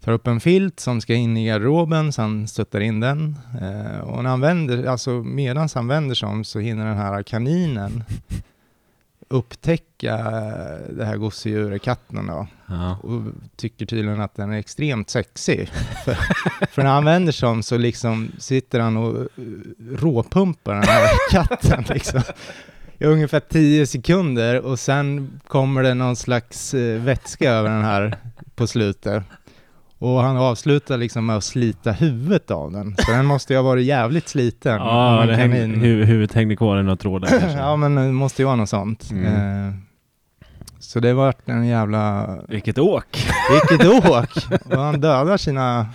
[SPEAKER 1] Tar upp en filt som ska in i garderoben, så han stöttar in den. Eh, och när han vänder, alltså medan han vänder sig om så hinner den här kaninen upptäcka det här gosedjuret, katten då
[SPEAKER 2] Ja.
[SPEAKER 1] och tycker tydligen att den är extremt sexig. för, för när han vänder sig om så liksom sitter han och eh, råpumpar den här katten liksom. I ungefär tio sekunder och sen kommer det någon slags eh, vätska över den här på slutet. Och han avslutar liksom med att slita huvudet av den. Så den måste ju ha varit jävligt sliten. av
[SPEAKER 2] Ja,
[SPEAKER 1] en
[SPEAKER 2] det hängde,
[SPEAKER 1] kanin.
[SPEAKER 2] hu- huvudet hängde kvar i några trådar kanske.
[SPEAKER 1] ja, men det måste ju vara något sånt.
[SPEAKER 2] Mm.
[SPEAKER 1] Eh, så det vart en jävla...
[SPEAKER 2] Vilket åk!
[SPEAKER 1] Vilket åk! Och han dödar sina,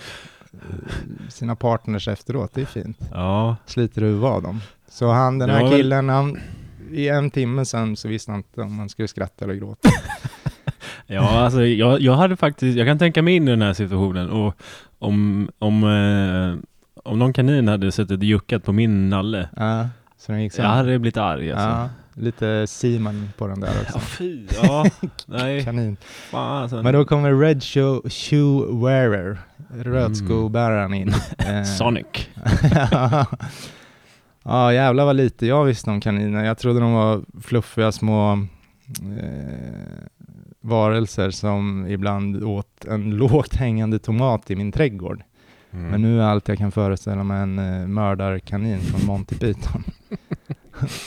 [SPEAKER 1] sina partners efteråt, det är fint.
[SPEAKER 2] Ja,
[SPEAKER 1] Sliter huvudet av dem. Så han, den
[SPEAKER 2] Det var
[SPEAKER 1] här
[SPEAKER 2] väl-
[SPEAKER 1] killen, han, i en timme sen så visste han inte om han skulle skratta eller gråta.
[SPEAKER 2] ja alltså, jag, jag hade faktiskt, jag kan tänka mig in i den här situationen och om, om, eh, om någon kanin hade suttit och juckat på min nalle,
[SPEAKER 1] Ja, så den gick
[SPEAKER 2] jag
[SPEAKER 1] sen.
[SPEAKER 2] hade blivit arg alltså.
[SPEAKER 1] Ja, lite Simon på den där
[SPEAKER 2] Ja,
[SPEAKER 1] också.
[SPEAKER 2] fy, ja, nej,
[SPEAKER 1] Kanin.
[SPEAKER 2] fan alltså.
[SPEAKER 1] Men då kommer Red Shoe, shoe Wearer,
[SPEAKER 2] Mm.
[SPEAKER 1] rödskobäraren in. Eh,
[SPEAKER 2] Sonic.
[SPEAKER 1] ja, jävlar vad lite jag visste om kaniner. Jag trodde de var fluffiga små eh, varelser som ibland åt en lågt hängande tomat i min trädgård.
[SPEAKER 2] Mm.
[SPEAKER 1] Men nu är allt jag kan föreställa mig en eh, mördarkanin från Monty Python.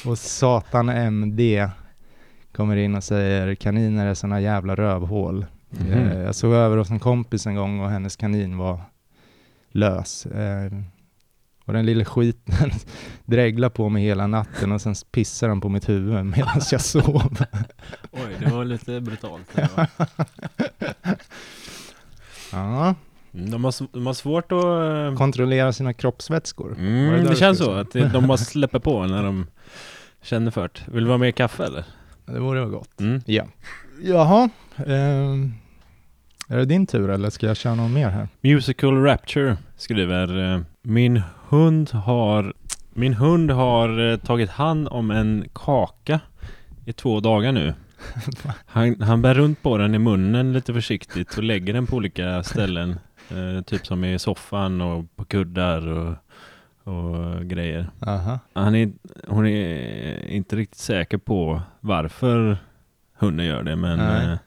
[SPEAKER 1] och Satan MD kommer in och säger kaniner är såna jävla rövhål.
[SPEAKER 2] Mhm.
[SPEAKER 1] Eh, Jag såg över hos en kompis en gång och hennes kanin var lös. Eh, Och den lilla skiten dreglade på mig hela natten och sen pissade den på mitt huvud medan jag sov.
[SPEAKER 2] Oj, det var lite brutalt.
[SPEAKER 1] Ja,
[SPEAKER 2] Mm, De har, sv- de har svårt att... eh,
[SPEAKER 1] kontrollera sina kroppsvätskor. Var
[SPEAKER 2] Mm,
[SPEAKER 1] där
[SPEAKER 2] det
[SPEAKER 1] du
[SPEAKER 2] känns så,
[SPEAKER 1] skulle
[SPEAKER 2] att de bara släpper på när de känner för det. Vill du ha mer kaffe eller?
[SPEAKER 1] Det vore väl gott.
[SPEAKER 2] Mm.
[SPEAKER 1] Ja. Jaha. ehm, är det din tur eller ska jag köra någon mer här?
[SPEAKER 2] Musical Rapture skriver eh, Min hund har Min hund har eh, tagit hand om en kaka i två dagar nu. Han, han bär runt på den i munnen lite försiktigt och lägger den på olika ställen. Eh, typ som i soffan och på kuddar och, och grejer.
[SPEAKER 1] Aha.
[SPEAKER 2] Han är, hon är inte riktigt säker på varför hunden gör det, men
[SPEAKER 1] Nej.
[SPEAKER 2] eh,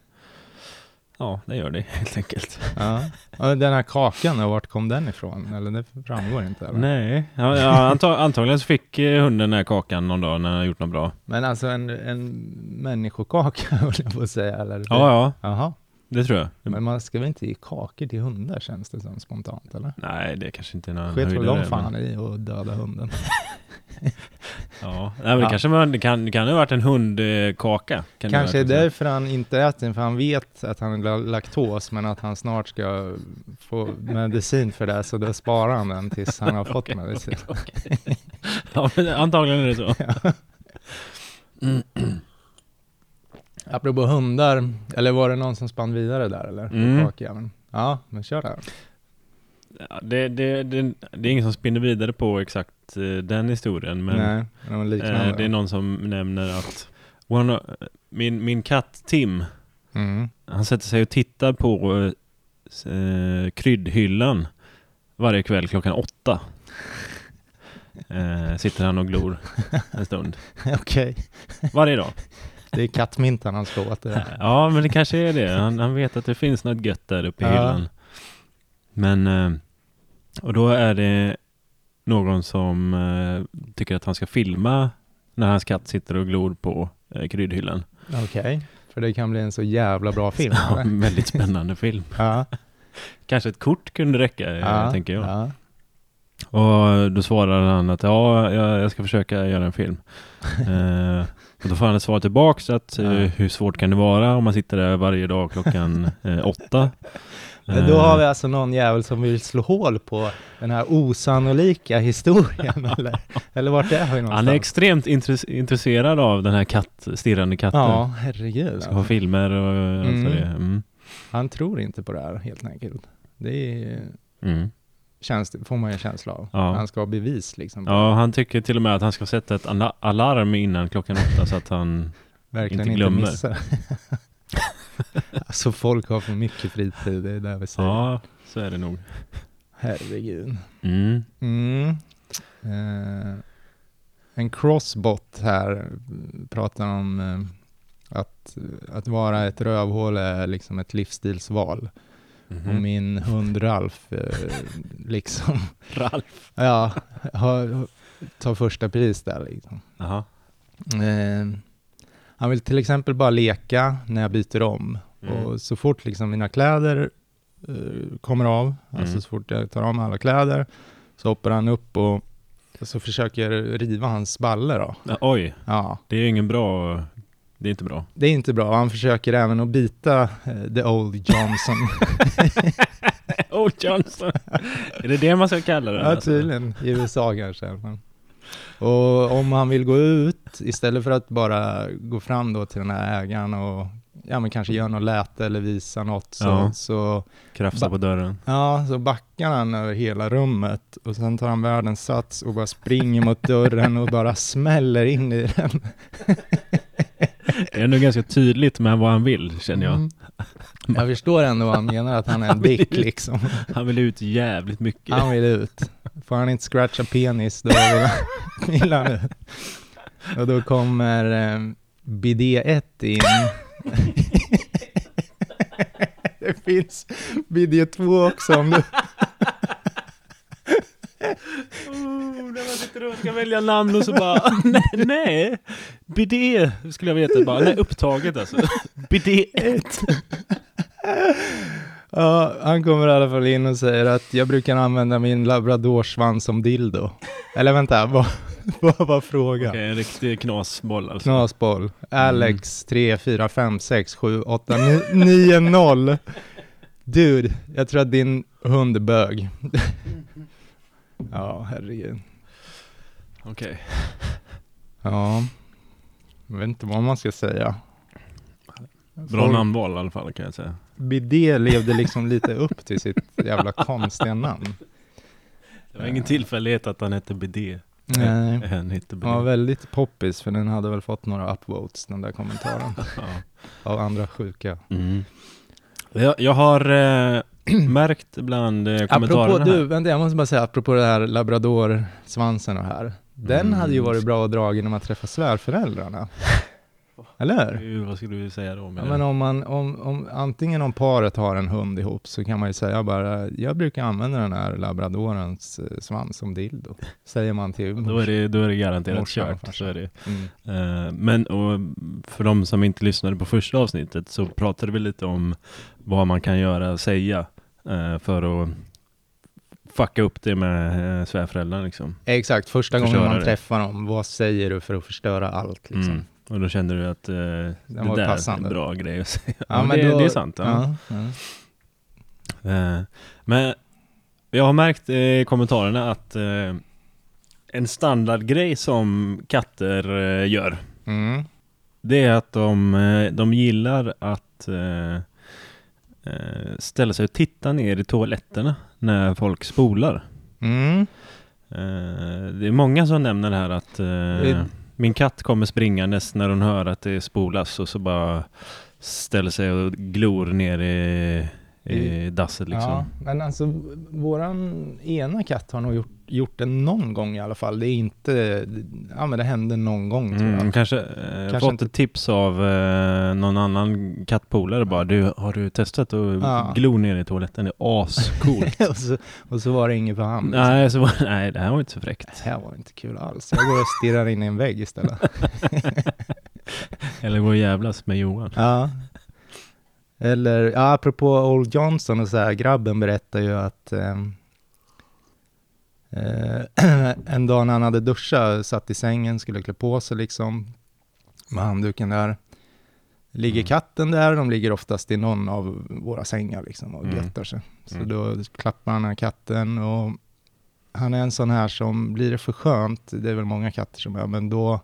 [SPEAKER 2] ja, det gör det helt enkelt.
[SPEAKER 1] Ja. Och den här kakan, då, vart kom den ifrån? Eller det framgår inte. Eller?
[SPEAKER 2] Nej, ja, ja, anta- antagligen så fick eh, hunden den här kakan någon dag när han hade gjort något bra.
[SPEAKER 1] Men alltså en, en människokaka höll jag på att säga. Eller?
[SPEAKER 2] Ja, ja,
[SPEAKER 1] Jaha.
[SPEAKER 2] det tror jag.
[SPEAKER 1] Men man ska väl inte ge kakor till hundar känns det som spontant eller?
[SPEAKER 2] Nej, det kanske inte är någon
[SPEAKER 1] Sket väl
[SPEAKER 2] höjdare,
[SPEAKER 1] de
[SPEAKER 2] men-
[SPEAKER 1] fan i att döda hunden.
[SPEAKER 2] Ja, Nej, men
[SPEAKER 1] Ja.
[SPEAKER 2] kanske man, det kan, det kan ha varit en hundkaka. Kan
[SPEAKER 1] Kanske är
[SPEAKER 2] det ha varit,
[SPEAKER 1] därför han inte äter den, för han vet att han har laktos, men att han snart ska få medicin för det, så då sparar han den tills han har fått medicin.
[SPEAKER 2] Ja, men antagligen är det så.
[SPEAKER 1] Apropå hundar, eller var det någon som spann vidare där eller?
[SPEAKER 2] Mm.
[SPEAKER 1] Kakjäveln. Ja, men kör där.
[SPEAKER 2] Ja, det, det, det, det är ingen som spinner vidare på exakt eh, den historien, men
[SPEAKER 1] Nej, det var liknande.
[SPEAKER 2] Eh, det är någon som nämner att one, of- min, min katt Tim,
[SPEAKER 1] mm.
[SPEAKER 2] han sätter sig och tittar på eh, s- eh, kryddhyllan varje kväll klockan åtta. Eh, sitter han och glor en stund.
[SPEAKER 1] Okej,
[SPEAKER 2] Varje dag.
[SPEAKER 1] det är kattmintan han slår åt det.
[SPEAKER 2] Ja, men det kanske är det. Han, han vet att det finns något gött där uppe i
[SPEAKER 1] Ja.
[SPEAKER 2] hyllan. Men, eh, och då är det någon som eh, tycker att han ska filma när hans katt sitter och glor på eh, kryddhyllan.
[SPEAKER 1] Okej, för det kan bli en så jävla bra film.
[SPEAKER 2] Ja,
[SPEAKER 1] eller?
[SPEAKER 2] en väldigt spännande film.
[SPEAKER 1] Ja,
[SPEAKER 2] Kanske ett kort kunde räcka, eh,
[SPEAKER 1] ja,
[SPEAKER 2] tänker jag.
[SPEAKER 1] Ja.
[SPEAKER 2] Och då svarade han att ja, jag, jag ska försöka göra en film. eh, och då får han ett svar tillbaks att eh,
[SPEAKER 1] Ja.
[SPEAKER 2] hur svårt kan det vara om man sitter där varje dag klockan eh, åtta?
[SPEAKER 1] Men då har vi
[SPEAKER 2] Eh,
[SPEAKER 1] alltså någon jävel som vill slå hål på den här osannolika historien, eller, eller vart är vi någonstans?
[SPEAKER 2] han är extremt intress- intresserad av den här katt, stirrande katten.
[SPEAKER 1] Ja, herregud.
[SPEAKER 2] Ska ha filmer och eh, allt vad det. är. Mm.
[SPEAKER 1] Han tror inte på det här helt enkelt. Det är,
[SPEAKER 2] Mm.
[SPEAKER 1] känns, det- får man ju en känsla av.
[SPEAKER 2] Ja.
[SPEAKER 1] Han ska ha bevis liksom. på
[SPEAKER 2] Ja, han tycker till och med att han ska sätta ett ala- alarm innan klockan åtta så att han...
[SPEAKER 1] Verkligen
[SPEAKER 2] inte
[SPEAKER 1] inte,
[SPEAKER 2] glömmer.
[SPEAKER 1] missar. alltså folk har för mycket fritid, det är där vi säger.
[SPEAKER 2] Ja, så är det nog.
[SPEAKER 1] Herregud.
[SPEAKER 2] Mm.
[SPEAKER 1] Mm. Eh, en crossbot här eh, pratar om eh, att, att vara ett rövhål är liksom ett livsstilsval. Och
[SPEAKER 2] Mhm.
[SPEAKER 1] min hund Ralf, eh, liksom,
[SPEAKER 2] Ralf.
[SPEAKER 1] ja, har, tar första pris där. Liksom.
[SPEAKER 2] Jaha.
[SPEAKER 1] Eh,
[SPEAKER 2] Ehm.
[SPEAKER 1] han vill till exempel bara leka när jag byter om.
[SPEAKER 2] Mm.
[SPEAKER 1] Och så fort liksom mina kläder eh, kommer av, alltså
[SPEAKER 2] Mm.
[SPEAKER 1] så fort jag tar av mig alla kläder, så hoppar han upp och så försöker riva hans balle då.
[SPEAKER 2] Ja, Oj,
[SPEAKER 1] Ja,
[SPEAKER 2] det är ingen bra... Det är inte bra.
[SPEAKER 1] det är inte bra. Han försöker även att bita eh, the old Johnson.
[SPEAKER 2] Old Johnson. är det det man ska kalla det?
[SPEAKER 1] ja,
[SPEAKER 2] alltså?
[SPEAKER 1] tydligen. I USA kanske. i alla fall. Och om han vill gå ut, istället för att bara gå fram då till den här ägaren och ja, men kanske göra något läte eller visa något, så,
[SPEAKER 2] Ja.
[SPEAKER 1] så
[SPEAKER 2] Krafsa på dörren.
[SPEAKER 1] Ja, så backar han över hela rummet och sen tar han världens sats och bara springer mot dörren och bara smäller in i den.
[SPEAKER 2] Det är ändå ganska tydligt med vad han vill, känner jag.
[SPEAKER 1] Mm. Jag förstår ändå vad han menar, att han är en dick liksom.
[SPEAKER 2] Han vill ut jävligt mycket.
[SPEAKER 1] Han vill ut. Får han inte scratcha penis, då vill han, vill han ut. Och då kommer eh, BD1 in. Det finns BD2 också om du...
[SPEAKER 2] Oh, när man sitter och ska välja namn och så bara nej, nej. BD skulle jag veta bara. Nej, upptaget alltså. BD1.
[SPEAKER 1] Ja, han kommer i alla fall in och säger att jag brukar använda min labradorsvans som dildo. Eller vänta, vad, vad var frågan?
[SPEAKER 2] Okej, en riktig knasboll alltså.
[SPEAKER 1] Knasboll.
[SPEAKER 2] Mm.
[SPEAKER 1] Alex 3, 4, 5, 6, 7, 8, 9, 0. Dude, jag tror att din hund är bög. ja, herregud.
[SPEAKER 2] Okej.
[SPEAKER 1] Ja, jag vet inte vad man ska säga.
[SPEAKER 2] Bra namnval i alla fall kan jag säga.
[SPEAKER 1] Bidé levde liksom lite upp till sitt jävla konstiga namn.
[SPEAKER 2] Det var ingen tillfällighet att han hette BD.
[SPEAKER 1] Nej.
[SPEAKER 2] Han hette BD.
[SPEAKER 1] Den var väldigt poppis, för den hade väl fått några upvotes, den där kommentaren,
[SPEAKER 2] Ja.
[SPEAKER 1] av andra sjuka.
[SPEAKER 2] Mm. Jag, jag har eh, märkt bland eh, kommentarerna
[SPEAKER 1] Apropå,
[SPEAKER 2] här.
[SPEAKER 1] du, vänta, jag måste bara säga, apropå det här labradorsvansen och här. Den
[SPEAKER 2] Mm.
[SPEAKER 1] hade ju varit bra att dra när man träffar svärföräldrarna. Eller hur?
[SPEAKER 2] Hur- Vad skulle du säga då? Med
[SPEAKER 1] Ja, men om man, om, om, antingen om paret har en hund ihop så kan man ju säga bara, jag brukar använda den här labradorens eh, svans som dildo, säger man till
[SPEAKER 2] Då är det, då är det garanterat
[SPEAKER 1] Morsan och
[SPEAKER 2] kört. Så
[SPEAKER 1] farsan.
[SPEAKER 2] är det.
[SPEAKER 1] Mm.
[SPEAKER 2] Eh, Men och för de som inte lyssnade på första avsnittet så pratade vi lite om vad man kan göra och säga eh, för att fucka upp det med eh, svärföräldrarna. Liksom.
[SPEAKER 1] Exakt, första gången
[SPEAKER 2] Förstöra
[SPEAKER 1] man
[SPEAKER 2] det.
[SPEAKER 1] träffar dem, vad säger du för att förstöra allt liksom?
[SPEAKER 2] Mm. Och då kände du att eh, det
[SPEAKER 1] Den var
[SPEAKER 2] där
[SPEAKER 1] passande.
[SPEAKER 2] är en bra grej att säga.
[SPEAKER 1] Ja,
[SPEAKER 2] Ja, men
[SPEAKER 1] men
[SPEAKER 2] det,
[SPEAKER 1] då-
[SPEAKER 2] det är sant. Ja.
[SPEAKER 1] Ja, ja.
[SPEAKER 2] Eh, Men jag har märkt eh, i kommentarerna att eh, en standardgrej som katter eh, gör
[SPEAKER 1] Mm.
[SPEAKER 2] Det är att de, eh, de gillar att eh, eh, ställa sig och titta ner i toaletterna när folk spolar.
[SPEAKER 1] Mm.
[SPEAKER 2] Eh, det är många som nämner det här att eh,
[SPEAKER 1] Det-
[SPEAKER 2] min katt kommer springandes när hon hör att det spolas och så bara ställer sig och glor ner i, i dasset
[SPEAKER 1] ja,
[SPEAKER 2] liksom.
[SPEAKER 1] men alltså våran ena katt har nog gjort, gjort det någon gång i alla fall. Det är inte, ja men det hände någon gång tror
[SPEAKER 2] Mm,
[SPEAKER 1] jag.
[SPEAKER 2] kanske eh,
[SPEAKER 1] Kanske
[SPEAKER 2] fått
[SPEAKER 1] inte-
[SPEAKER 2] ett tips av eh, någon annan kattpolare bara. Du, har du testat att
[SPEAKER 1] Ja.
[SPEAKER 2] glo ner i toaletten? Det är ascoolt.
[SPEAKER 1] och, så, och så var det inget på hand. liksom.
[SPEAKER 2] Nej, så, var- nej, det här var inte så
[SPEAKER 1] Det
[SPEAKER 2] fräckt.
[SPEAKER 1] här var inte kul alls. Jag går och stirrar in i en vägg istället.
[SPEAKER 2] Eller gå och jävlas med Johan.
[SPEAKER 1] ja. Eller, ja, apropå Old Johnson och så här, grabben berättar ju att ehm, eh, en dag när han hade duschat, satt i sängen, skulle klä på sig liksom, med handduken där. Ligger
[SPEAKER 2] Mm.
[SPEAKER 1] katten där, de ligger oftast i någon av våra sängar liksom och
[SPEAKER 2] Mm.
[SPEAKER 1] göttar sig. Så
[SPEAKER 2] Mm.
[SPEAKER 1] då klappar han den här katten och han är en sån här som, blir det för skönt, det är väl många katter som är, men då,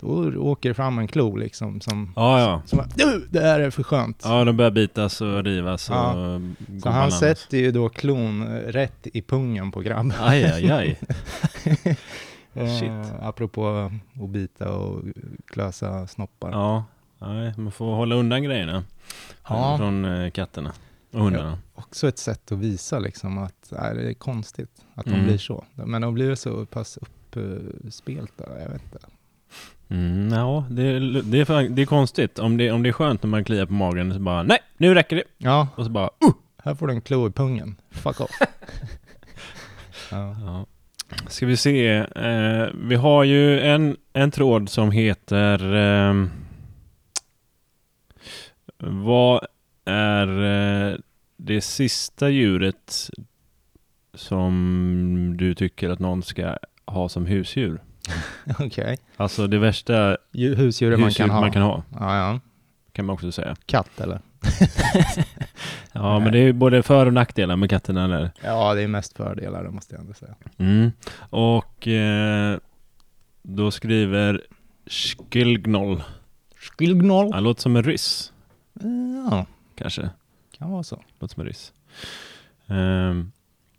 [SPEAKER 1] då åker det fram en klo liksom som,
[SPEAKER 2] Ja, ja.
[SPEAKER 1] som bara, du, det här är för skönt.
[SPEAKER 2] Ja, de börjar bitas och rivas och
[SPEAKER 1] Ja.
[SPEAKER 2] gå
[SPEAKER 1] Så han
[SPEAKER 2] bananas.
[SPEAKER 1] sätter ju då klon eh, rätt i pungen på grabben.
[SPEAKER 2] Aj, aj, aj. Shit.
[SPEAKER 1] Eh, apropå att bita och klösa snoppar.
[SPEAKER 2] Ja, nej, man får hålla undan grejerna
[SPEAKER 1] Ja.
[SPEAKER 2] från eh, katterna och hundarna.
[SPEAKER 1] Också ett sätt att visa liksom att nej, det är konstigt att de
[SPEAKER 2] Mm.
[SPEAKER 1] blir så. Men de blir så pass uppspelta, jag vet inte.
[SPEAKER 2] Mm, ja, det, är- det, är, fan- det är konstigt. Om det, om det är skönt när man kliar på magen så bara nej, nu räcker det.
[SPEAKER 1] Ja,
[SPEAKER 2] Och så bara
[SPEAKER 1] här får du en klo i pungen. Fuck off. ja.
[SPEAKER 2] Ja. Ska vi se. Eh, vi har ju en, en tråd som heter ehm, Vad är eh, det sista djuret som du tycker att någon ska ha som husdjur?
[SPEAKER 1] Okej.
[SPEAKER 2] Alltså det värsta
[SPEAKER 1] Djur- Husdjuret man
[SPEAKER 2] husdjur
[SPEAKER 1] kan ha.
[SPEAKER 2] man kan ha,
[SPEAKER 1] Ja, ja.
[SPEAKER 2] kan man också säga.
[SPEAKER 1] Katt eller?
[SPEAKER 2] Ja,
[SPEAKER 1] Nej.
[SPEAKER 2] men det är ju både för och nackdelar med katterna där.
[SPEAKER 1] Ja, det är mest fördelar det måste jag ändå säga.
[SPEAKER 2] Mm. Och eh, då skriver Skilgnoll.
[SPEAKER 1] Skilgnoll.
[SPEAKER 2] Han låter som en ryss,
[SPEAKER 1] Ja,
[SPEAKER 2] kanske.
[SPEAKER 1] kan vara så.
[SPEAKER 2] Låter som en ryss. Ehm,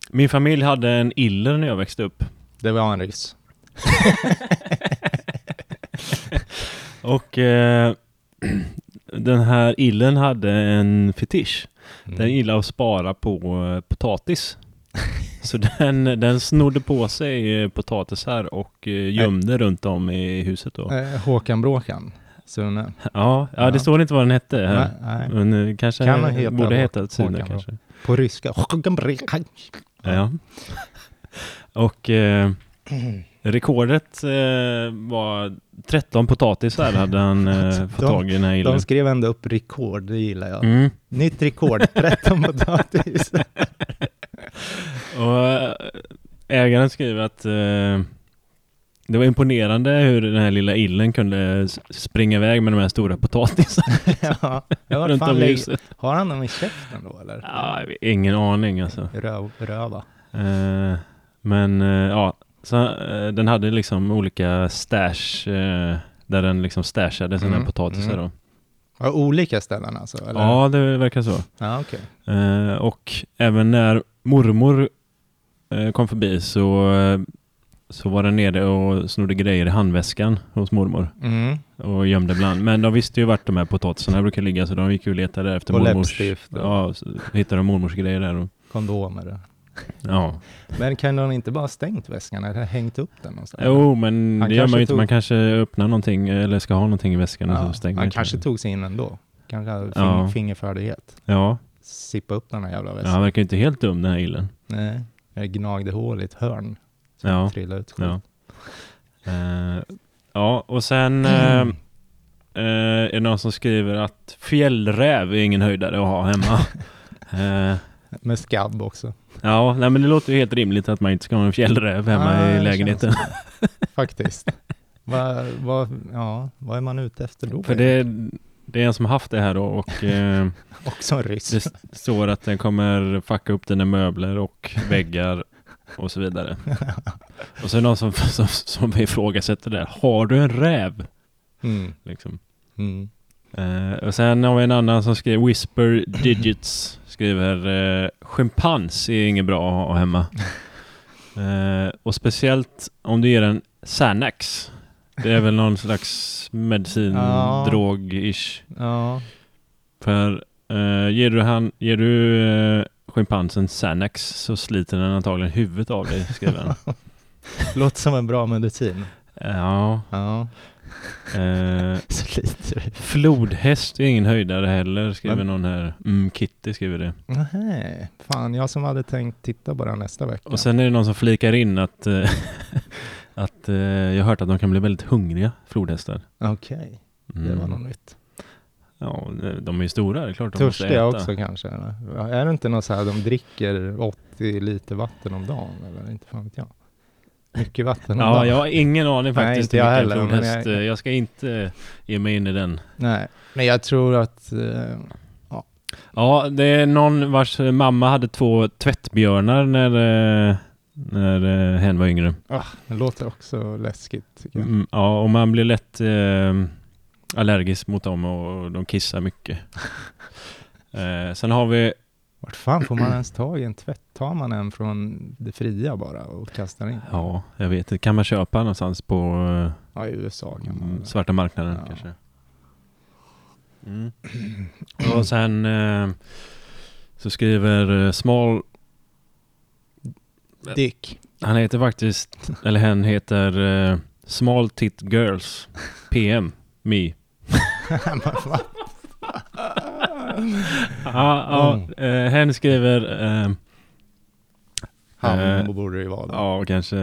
[SPEAKER 2] min familj hade en iller när jag växte upp.
[SPEAKER 1] Det var en ryss.
[SPEAKER 2] Och eh, den här illen hade en fetisch.
[SPEAKER 1] Mm.
[SPEAKER 2] Den gillade att spara på eh, potatis. Så den, den snodde på sig eh, potatisar och eh, gömde runt om i huset då.
[SPEAKER 1] Eh, Håkan Bråkan, Sune.
[SPEAKER 2] Ja, ja, det
[SPEAKER 1] Ja.
[SPEAKER 2] står inte vad den hette här.
[SPEAKER 1] Nej, nej.
[SPEAKER 2] Men eh, kanske
[SPEAKER 1] Kan han heta
[SPEAKER 2] borde
[SPEAKER 1] Håkan-
[SPEAKER 2] heta Sune
[SPEAKER 1] Håkan då?
[SPEAKER 2] kanske.
[SPEAKER 1] På ryska. Håkan Bråkan.
[SPEAKER 2] Ja. Och eh, rekordet eh, var 13 potatisar hade han eh, fått
[SPEAKER 1] De-
[SPEAKER 2] tag i den här
[SPEAKER 1] De
[SPEAKER 2] illen.
[SPEAKER 1] skrev ändå upp rekord, det gillar jag.
[SPEAKER 2] Mm.
[SPEAKER 1] Nytt rekord, 13 potatis.
[SPEAKER 2] Och eh, ägaren skriver att eh, det var imponerande hur den här lilla illen kunde s- springa iväg med de här stora potatisarna
[SPEAKER 1] ja. Jag var
[SPEAKER 2] runt
[SPEAKER 1] fan
[SPEAKER 2] om i
[SPEAKER 1] lägg-
[SPEAKER 2] huset.
[SPEAKER 1] Har han dem i käften då eller?
[SPEAKER 2] Ja, ingen aning alltså.
[SPEAKER 1] Röv, röva.
[SPEAKER 2] Eh, men eh, ja, så, eh, den hade liksom olika stash eh, där den liksom stashade sina
[SPEAKER 1] Mm,
[SPEAKER 2] potatisar
[SPEAKER 1] mm.
[SPEAKER 2] då.
[SPEAKER 1] Ja, olika ställen alltså? Eller?
[SPEAKER 2] Ja, det verkar så.
[SPEAKER 1] Ja, okej.
[SPEAKER 2] Eh, och även när mormor eh, kom förbi så, eh, så var den nere och snodde grejer i handväskan hos mormor
[SPEAKER 1] Mm.
[SPEAKER 2] och gömde bland. Men de visste ju vart de här potatisarna brukar ligga så de gick ju och letade efter
[SPEAKER 1] Och
[SPEAKER 2] mormors...
[SPEAKER 1] läppstift och-
[SPEAKER 2] Ja, så hittade de mormors grejer där. Och,
[SPEAKER 1] Kondomer.
[SPEAKER 2] ja.
[SPEAKER 1] Men kan de inte bara ha stängt väskan eller hängt upp den någonstans?
[SPEAKER 2] Jo, men
[SPEAKER 1] Han
[SPEAKER 2] det gör man
[SPEAKER 1] kanske
[SPEAKER 2] ju inte.
[SPEAKER 1] tog-
[SPEAKER 2] Man kanske öppnar någonting eller ska ha någonting i väskan och
[SPEAKER 1] Ja,
[SPEAKER 2] så stänger
[SPEAKER 1] han
[SPEAKER 2] inte.
[SPEAKER 1] kanske tog sig in ändå. Kanske hade fin-
[SPEAKER 2] Ja.
[SPEAKER 1] fingerfärdighet.
[SPEAKER 2] Ja,
[SPEAKER 1] Sippa upp den här jävla
[SPEAKER 2] ja,
[SPEAKER 1] väskan.
[SPEAKER 2] han verkar ju inte helt dum den här illen.
[SPEAKER 1] Nej, jag gnagde hål i ett hörn. Så
[SPEAKER 2] Ja.
[SPEAKER 1] det trillade ut skit.
[SPEAKER 2] Ja. Eh, ja, och sen eh, eh, är det någon som skriver att fjällräv är ingen höjdare att ha hemma. Eh,
[SPEAKER 1] Med skabb också.
[SPEAKER 2] ja, nej, men det låter ju helt rimligt att man inte ska ha en fjällräv hemma
[SPEAKER 1] Ah,
[SPEAKER 2] i
[SPEAKER 1] det
[SPEAKER 2] lägenheten.
[SPEAKER 1] Faktiskt. vad vad ja, vad är man ute efter då?
[SPEAKER 2] För det, det är en som har haft det här då och eh,
[SPEAKER 1] Också en ryss.
[SPEAKER 2] det s- står att den kommer fucka upp dina möbler och väggar och så vidare. Och så är det någon som, som, som ifrågasätter det här. Har du en räv?
[SPEAKER 1] Mm.
[SPEAKER 2] Liksom.
[SPEAKER 1] Mm.
[SPEAKER 2] Eh, och sen har vi en annan som skriver Whisper Digits skriver uh, schimpans är inget bra att ha hemma. Eh, och speciellt om du ger en Xanax. Det är väl någon slags medicin,
[SPEAKER 1] Ja.
[SPEAKER 2] drog-ish.
[SPEAKER 1] Ja,
[SPEAKER 2] För eh, ger du, han, ger du eh, schimpansen Xanax så sliter den antagligen huvudet av dig, skriver han.
[SPEAKER 1] låter som en bra medicin.
[SPEAKER 2] ja.
[SPEAKER 1] Ja,
[SPEAKER 2] eh,
[SPEAKER 1] så lite.
[SPEAKER 2] flodhäst är ingen höjdare heller, skriver
[SPEAKER 1] Men-
[SPEAKER 2] någon här. Mm, Kitty skriver det.
[SPEAKER 1] Nej, fan jag som hade tänkt titta på den nästa vecka.
[SPEAKER 2] Och sen är det någon som flikar in att, eh, att eh, jag har hört att de kan bli väldigt hungriga, flodhästar.
[SPEAKER 1] Okej,
[SPEAKER 2] Mm.
[SPEAKER 1] det var något nytt.
[SPEAKER 2] Ja, de är ju stora, det är klart de måste
[SPEAKER 1] Törstiga
[SPEAKER 2] äta.
[SPEAKER 1] också kanske? Eller? Ja, Är det inte något så här, de dricker 80 liter vatten om dagen? Eller inte fan vet jag. Mycket vatten om
[SPEAKER 2] Ja,
[SPEAKER 1] dagen.
[SPEAKER 2] jag har ingen aning
[SPEAKER 1] Nej,
[SPEAKER 2] faktiskt
[SPEAKER 1] inte jag
[SPEAKER 2] hur mycket
[SPEAKER 1] heller,
[SPEAKER 2] en
[SPEAKER 1] men
[SPEAKER 2] flodhäst,
[SPEAKER 1] jag-
[SPEAKER 2] eh, jag ska inte ge mig in i den.
[SPEAKER 1] Nej, men jag tror att... eh,
[SPEAKER 2] Ja, det är någon vars mamma hade två tvättbjörnar när, eh, när eh, hen var yngre.
[SPEAKER 1] det låter också läskigt. Tycker jag.
[SPEAKER 2] Mm, ja, och man blir lätt eh, allergisk mot dem och och de kissar mycket. eh, sen har vi
[SPEAKER 1] Vart fan får man ens tag i en tvätt? Tar man en från det fria bara och kastar in?
[SPEAKER 2] Ja, jag vet inte. Kan man köpa någonstans på eh,
[SPEAKER 1] Ja, i USA kan man
[SPEAKER 2] mm,
[SPEAKER 1] väl.
[SPEAKER 2] svarta marknaden
[SPEAKER 1] Ja.
[SPEAKER 2] kanske? Mm. Och sen eh, så skriver eh, Small,
[SPEAKER 1] Dick.
[SPEAKER 2] han heter faktiskt, eller hen heter eh, Small Tit Girls PM Me. Ja, ja, eh, hen skriver, eh,
[SPEAKER 1] Han
[SPEAKER 2] Eh,
[SPEAKER 1] borde det ju vara. då.
[SPEAKER 2] ja kanske,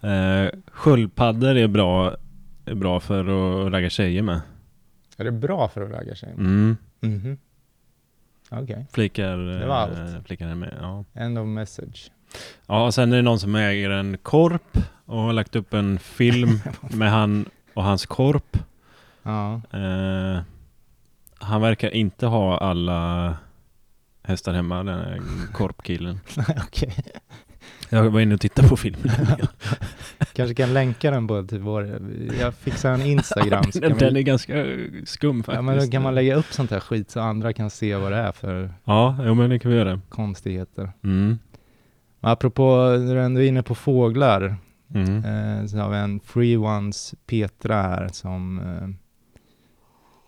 [SPEAKER 2] eh, sköldpaddor är bra, är bra för att ragga tjejer med.
[SPEAKER 1] Är det bra för att ragga sig?
[SPEAKER 2] Mm.
[SPEAKER 1] Mhm. Okej.
[SPEAKER 2] Flikar, eh,
[SPEAKER 1] Det var allt.
[SPEAKER 2] flikar den med. Ja.
[SPEAKER 1] End of message.
[SPEAKER 2] ja, och sen är det någon som äger en korp och har lagt upp en film med han och hans korp.
[SPEAKER 1] Ja.
[SPEAKER 2] Eh, han verkar inte ha alla hästar hemma, den här korpkillen.
[SPEAKER 1] Okej.
[SPEAKER 2] Jag var inne och tittade på filmen.
[SPEAKER 1] Kanske kan länka den på typ vår... Jag fixar en Instagram. så kan
[SPEAKER 2] den, den
[SPEAKER 1] vi,
[SPEAKER 2] är ganska skum faktiskt.
[SPEAKER 1] ja, men då kan man lägga upp sånt här skit så andra kan se vad det är för
[SPEAKER 2] Ja, jo, men det kan vi göra.
[SPEAKER 1] konstigheter.
[SPEAKER 2] Mm.
[SPEAKER 1] Apropå, när du ändå är inne på fåglar,
[SPEAKER 2] Mm.
[SPEAKER 1] eh, så har vi en Free Ones Petra här som eh,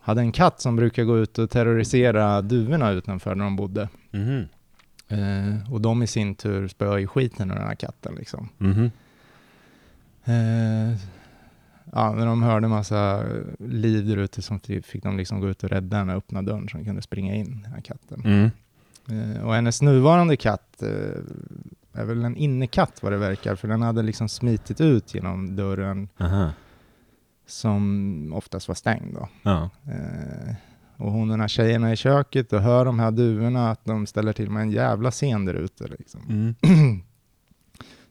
[SPEAKER 1] hade en katt som brukar gå ut och terrorisera duvorna utanför där de bodde.
[SPEAKER 2] Mhm.
[SPEAKER 1] Eh, och de i sin tur spöar ju skiten ur den här katten liksom.
[SPEAKER 2] Mhm.
[SPEAKER 1] Eh, ja, när de hörde massa liv där ute så fick de liksom gå ut och rädda den och öppna dörren så den kunde springa in, den här katten.
[SPEAKER 2] Mm.
[SPEAKER 1] Eh, och hennes nuvarande katt eh, är väl en innekatt vad det verkar, för den hade liksom smitit ut genom dörren
[SPEAKER 2] Aha.
[SPEAKER 1] som oftast var stängd. Då.
[SPEAKER 2] Ja.
[SPEAKER 1] Eh, och hon och den här tjejerna i köket och hör de här duvorna att de ställer till med en jävla scen där ute. Liksom.
[SPEAKER 2] Mm.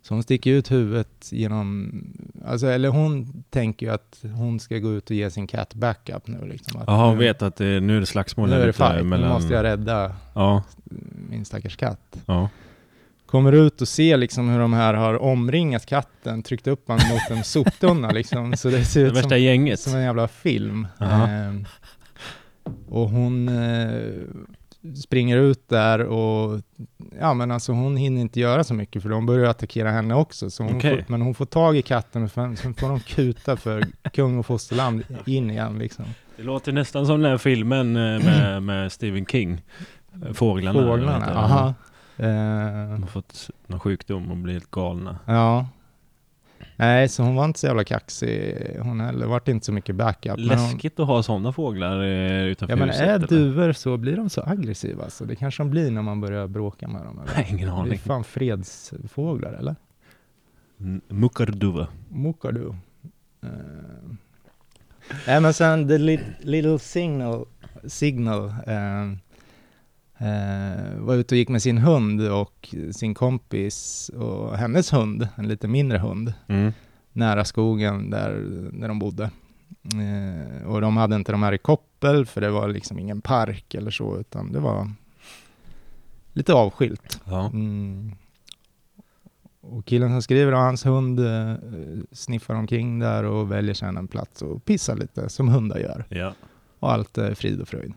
[SPEAKER 1] Så hon sticker ut huvudet genom, alltså, eller hon tänker ju att hon ska gå ut och ge sin katt backup nu. Liksom, att
[SPEAKER 2] Jaha, hon
[SPEAKER 1] nu,
[SPEAKER 2] vet att det, nu är det slagsmål
[SPEAKER 1] nu
[SPEAKER 2] här
[SPEAKER 1] är det
[SPEAKER 2] ute
[SPEAKER 1] fight, nu måste jag rädda
[SPEAKER 2] Ja,
[SPEAKER 1] min stackars katt.
[SPEAKER 2] ja.
[SPEAKER 1] Kommer ut och ser liksom hur de här har omringat katten, tryckt upp honom mot en soptunna liksom. Så det ser
[SPEAKER 2] Det
[SPEAKER 1] ut
[SPEAKER 2] värsta
[SPEAKER 1] som,
[SPEAKER 2] gänget.
[SPEAKER 1] som en jävla film.
[SPEAKER 2] Jaha.
[SPEAKER 1] Ehm, och hon eh, springer ut där och ja men alltså hon hinner inte göra så mycket för de börjar attackera henne också. Så hon
[SPEAKER 2] Okej.
[SPEAKER 1] får, men hon får tag i katten och sen sen får de kuta för kung och fosterland in igen liksom.
[SPEAKER 2] Det låter nästan som den här filmen eh, med, med Stephen King. Eh, Fåglarna.
[SPEAKER 1] Fåglarna,
[SPEAKER 2] eller vad heter det?
[SPEAKER 1] aha. Ehm,
[SPEAKER 2] De har fått någon sjukdom och blir helt galna.
[SPEAKER 1] Ja. Nej, så hon var inte så jävla kaxig hon heller. Vart inte så mycket backup. men Hon,
[SPEAKER 2] Läskigt att ha sådana fåglar eh, utanför
[SPEAKER 1] ja men
[SPEAKER 2] huset.
[SPEAKER 1] är
[SPEAKER 2] eller?
[SPEAKER 1] duvor så, blir de så aggressiva? Så det kanske de blir när man börjar bråka med dem. Eller?
[SPEAKER 2] Nej, ingen
[SPEAKER 1] det är
[SPEAKER 2] aning.
[SPEAKER 1] fan fredsfåglar eller?
[SPEAKER 2] N- Muckarduva.
[SPEAKER 1] Mokar du? Eh. Nej men sen The Lit- Little Signal, signal eh, eh, var ute och gick med sin hund och sin kompis och hennes hund, en lite mindre hund.
[SPEAKER 2] Mm.
[SPEAKER 1] nära skogen där, där de bodde. Eh, och de hade inte de här i koppel, för det var liksom ingen park eller så, utan det var lite avskilt.
[SPEAKER 2] Ja.
[SPEAKER 1] Mm. Och killen som skriver, och hans hund eh, sniffar omkring där och väljer sedan en plats och pissar lite, som hundar gör.
[SPEAKER 2] ja.
[SPEAKER 1] Och allt är frid och fröjd.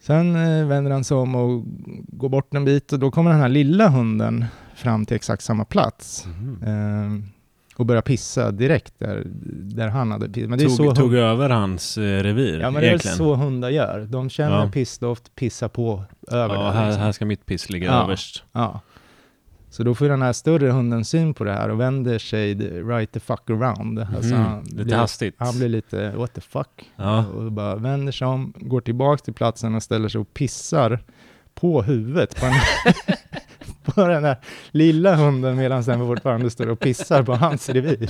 [SPEAKER 1] Sen eh, vänder han sig om och går bort en bit och då kommer den här lilla hunden fram till exakt samma plats.
[SPEAKER 2] Mhm.
[SPEAKER 1] Eh, och börja pissa direkt där, där han hade pissat. Men det är
[SPEAKER 2] Tog,
[SPEAKER 1] så hund-
[SPEAKER 2] tog över hans eh, revir
[SPEAKER 1] Ja men det är väl
[SPEAKER 2] egentligen.
[SPEAKER 1] så hundar gör. De känner
[SPEAKER 2] Ja.
[SPEAKER 1] pissdoft, pissar på över
[SPEAKER 2] ja,
[SPEAKER 1] det.
[SPEAKER 2] här,
[SPEAKER 1] liksom.
[SPEAKER 2] här ska mitt piss ligga
[SPEAKER 1] Ja.
[SPEAKER 2] överst.
[SPEAKER 1] Ja. Så då får den här större hunden syn på det här och vänder sig the- right the fuck around. Alltså,
[SPEAKER 2] Mhm.
[SPEAKER 1] han,
[SPEAKER 2] Lite
[SPEAKER 1] blir,
[SPEAKER 2] hastigt.
[SPEAKER 1] han blir lite what the fuck.
[SPEAKER 2] Ja.
[SPEAKER 1] Och bara vänder sig om, går tillbaka till platsen och ställer sig och pissar på huvudet på den, på den där lilla hunden medan den fortfarande står och pissar på hans revir.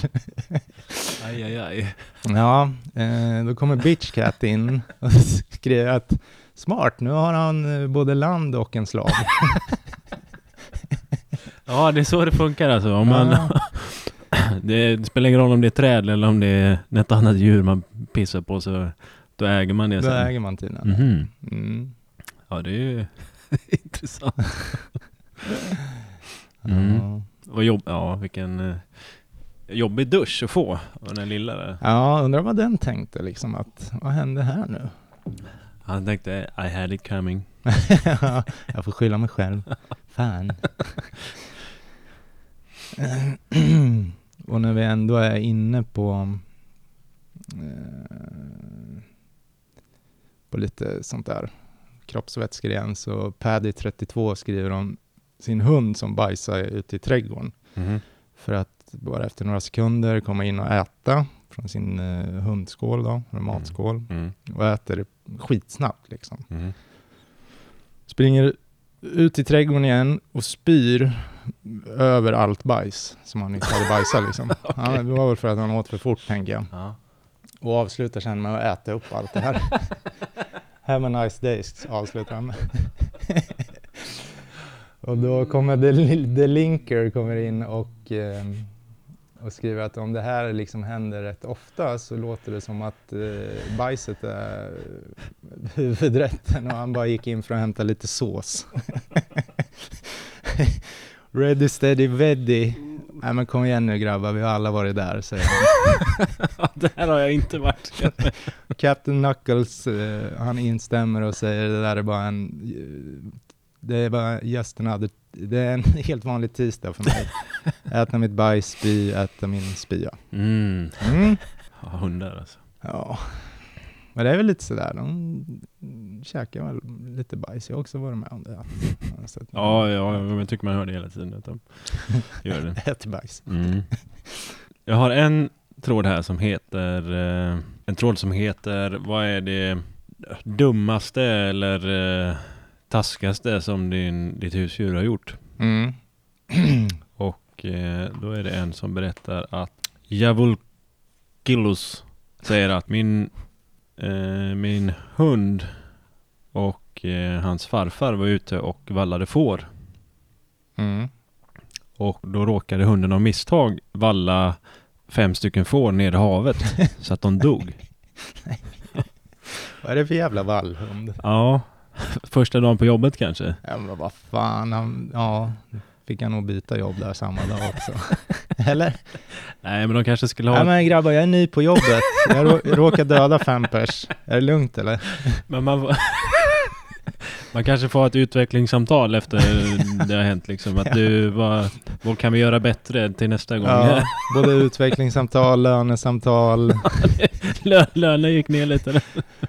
[SPEAKER 2] Aj, aj, aj.
[SPEAKER 1] Ja, eh, då kommer Bitch Cat in och skriver att smart, nu har han eh, både land och en slav.
[SPEAKER 2] Ja, det är så det funkar alltså. Om man,
[SPEAKER 1] Ja,
[SPEAKER 2] Det spelar ingen roll om det är träd eller om det är något annat djur man pissar på, så då äger man det
[SPEAKER 1] då
[SPEAKER 2] sen.
[SPEAKER 1] äger man tydligen.
[SPEAKER 2] Mhm.
[SPEAKER 1] Mm.
[SPEAKER 2] Ja, det är ju intressant. Mm.
[SPEAKER 1] Ja.
[SPEAKER 2] Vad jobb... Ja, vilken eh, jobbig dusch att få av den här lilla där.
[SPEAKER 1] ja, undrar vad den tänkte liksom att, vad hände här nu?
[SPEAKER 2] Han tänkte I had it coming.
[SPEAKER 1] jag får skylla mig själv. Fan. och när vi ändå är inne på eh, på lite sånt där kroppsvätskor igen, så Paddy32 skriver om sin hund som bajsar ute i trädgården
[SPEAKER 2] Mhm.
[SPEAKER 1] för att bara efter några sekunder komma in och äta från sin eh, hundskål då, eller matskål,
[SPEAKER 2] Mm.
[SPEAKER 1] och äter det skitsnabbt liksom
[SPEAKER 2] Mm.
[SPEAKER 1] springer ut i trädgården igen och spyr över allt bajs som han nyss hade bajsat. Liksom. ja, det var väl för att han åt för fort, tänker jag.
[SPEAKER 2] Ja.
[SPEAKER 1] Och avslutar sen med att äta upp allt det här. Have a nice day, avslutar han med. Och då kommer The, Li- The Linker kommer in och, eh, och skriver att om det här liksom händer rätt ofta så låter det som att eh, bajset är huvudrätten och han bara gick in för att hämta lite sås. Ready, steady, ready. Nej men kom igen nu grabbar, vi har alla varit där säger han.
[SPEAKER 2] det här har jag inte varit.
[SPEAKER 1] Captain Knuckles, eh, han instämmer och säger det där är bara en... eh, Det är bara just another... Det är en helt vanlig tisdag för mig. äta mitt bajs, spy, äta min spya.
[SPEAKER 2] Mm.
[SPEAKER 1] Mm.
[SPEAKER 2] Ja, hundar alltså.
[SPEAKER 1] Ja. Men det är väl lite sådär, de käkar väl lite bajs. Jag har också varit med om det. Jag har sett-
[SPEAKER 2] Ja, ja, men jag tycker man hör det hela tiden. Att de gör det.
[SPEAKER 1] Äter bajs.
[SPEAKER 2] Mm. Jag har en tråd här som heter, eh, en tråd som heter, vad är det dummaste eller eh, taskigaste som din, ditt husdjur har gjort?
[SPEAKER 1] Mm.
[SPEAKER 2] Och eh, då är det en som berättar att Javulkilus säger att min, eh, min hund och eh, hans farfar var ute och vallade får.
[SPEAKER 1] Mm.
[SPEAKER 2] Och då råkade hunden av misstag valla fem stycken får ner i havet så att de dog.
[SPEAKER 1] Vad är det för jävla vallhund?
[SPEAKER 2] Ja, första dagen på jobbet kanske.
[SPEAKER 1] Ja men vad fan, han, ja. Fick han nog byta jobb där samma dag också. Eller?
[SPEAKER 2] Nej, men de kanske skulle ha...
[SPEAKER 1] Nej
[SPEAKER 2] men...
[SPEAKER 1] men grabbar, jag är ny på jobbet. Jag rå- råkade döda fem pers. Är det lugnt eller?
[SPEAKER 2] man... man kanske får ha ett utvecklingssamtal efter det har hänt liksom. Att du, vad, vad kan vi göra bättre till nästa gång?
[SPEAKER 1] Ja, både utvecklingssamtal, lönesamtal
[SPEAKER 2] Lö- Lönen gick ner lite.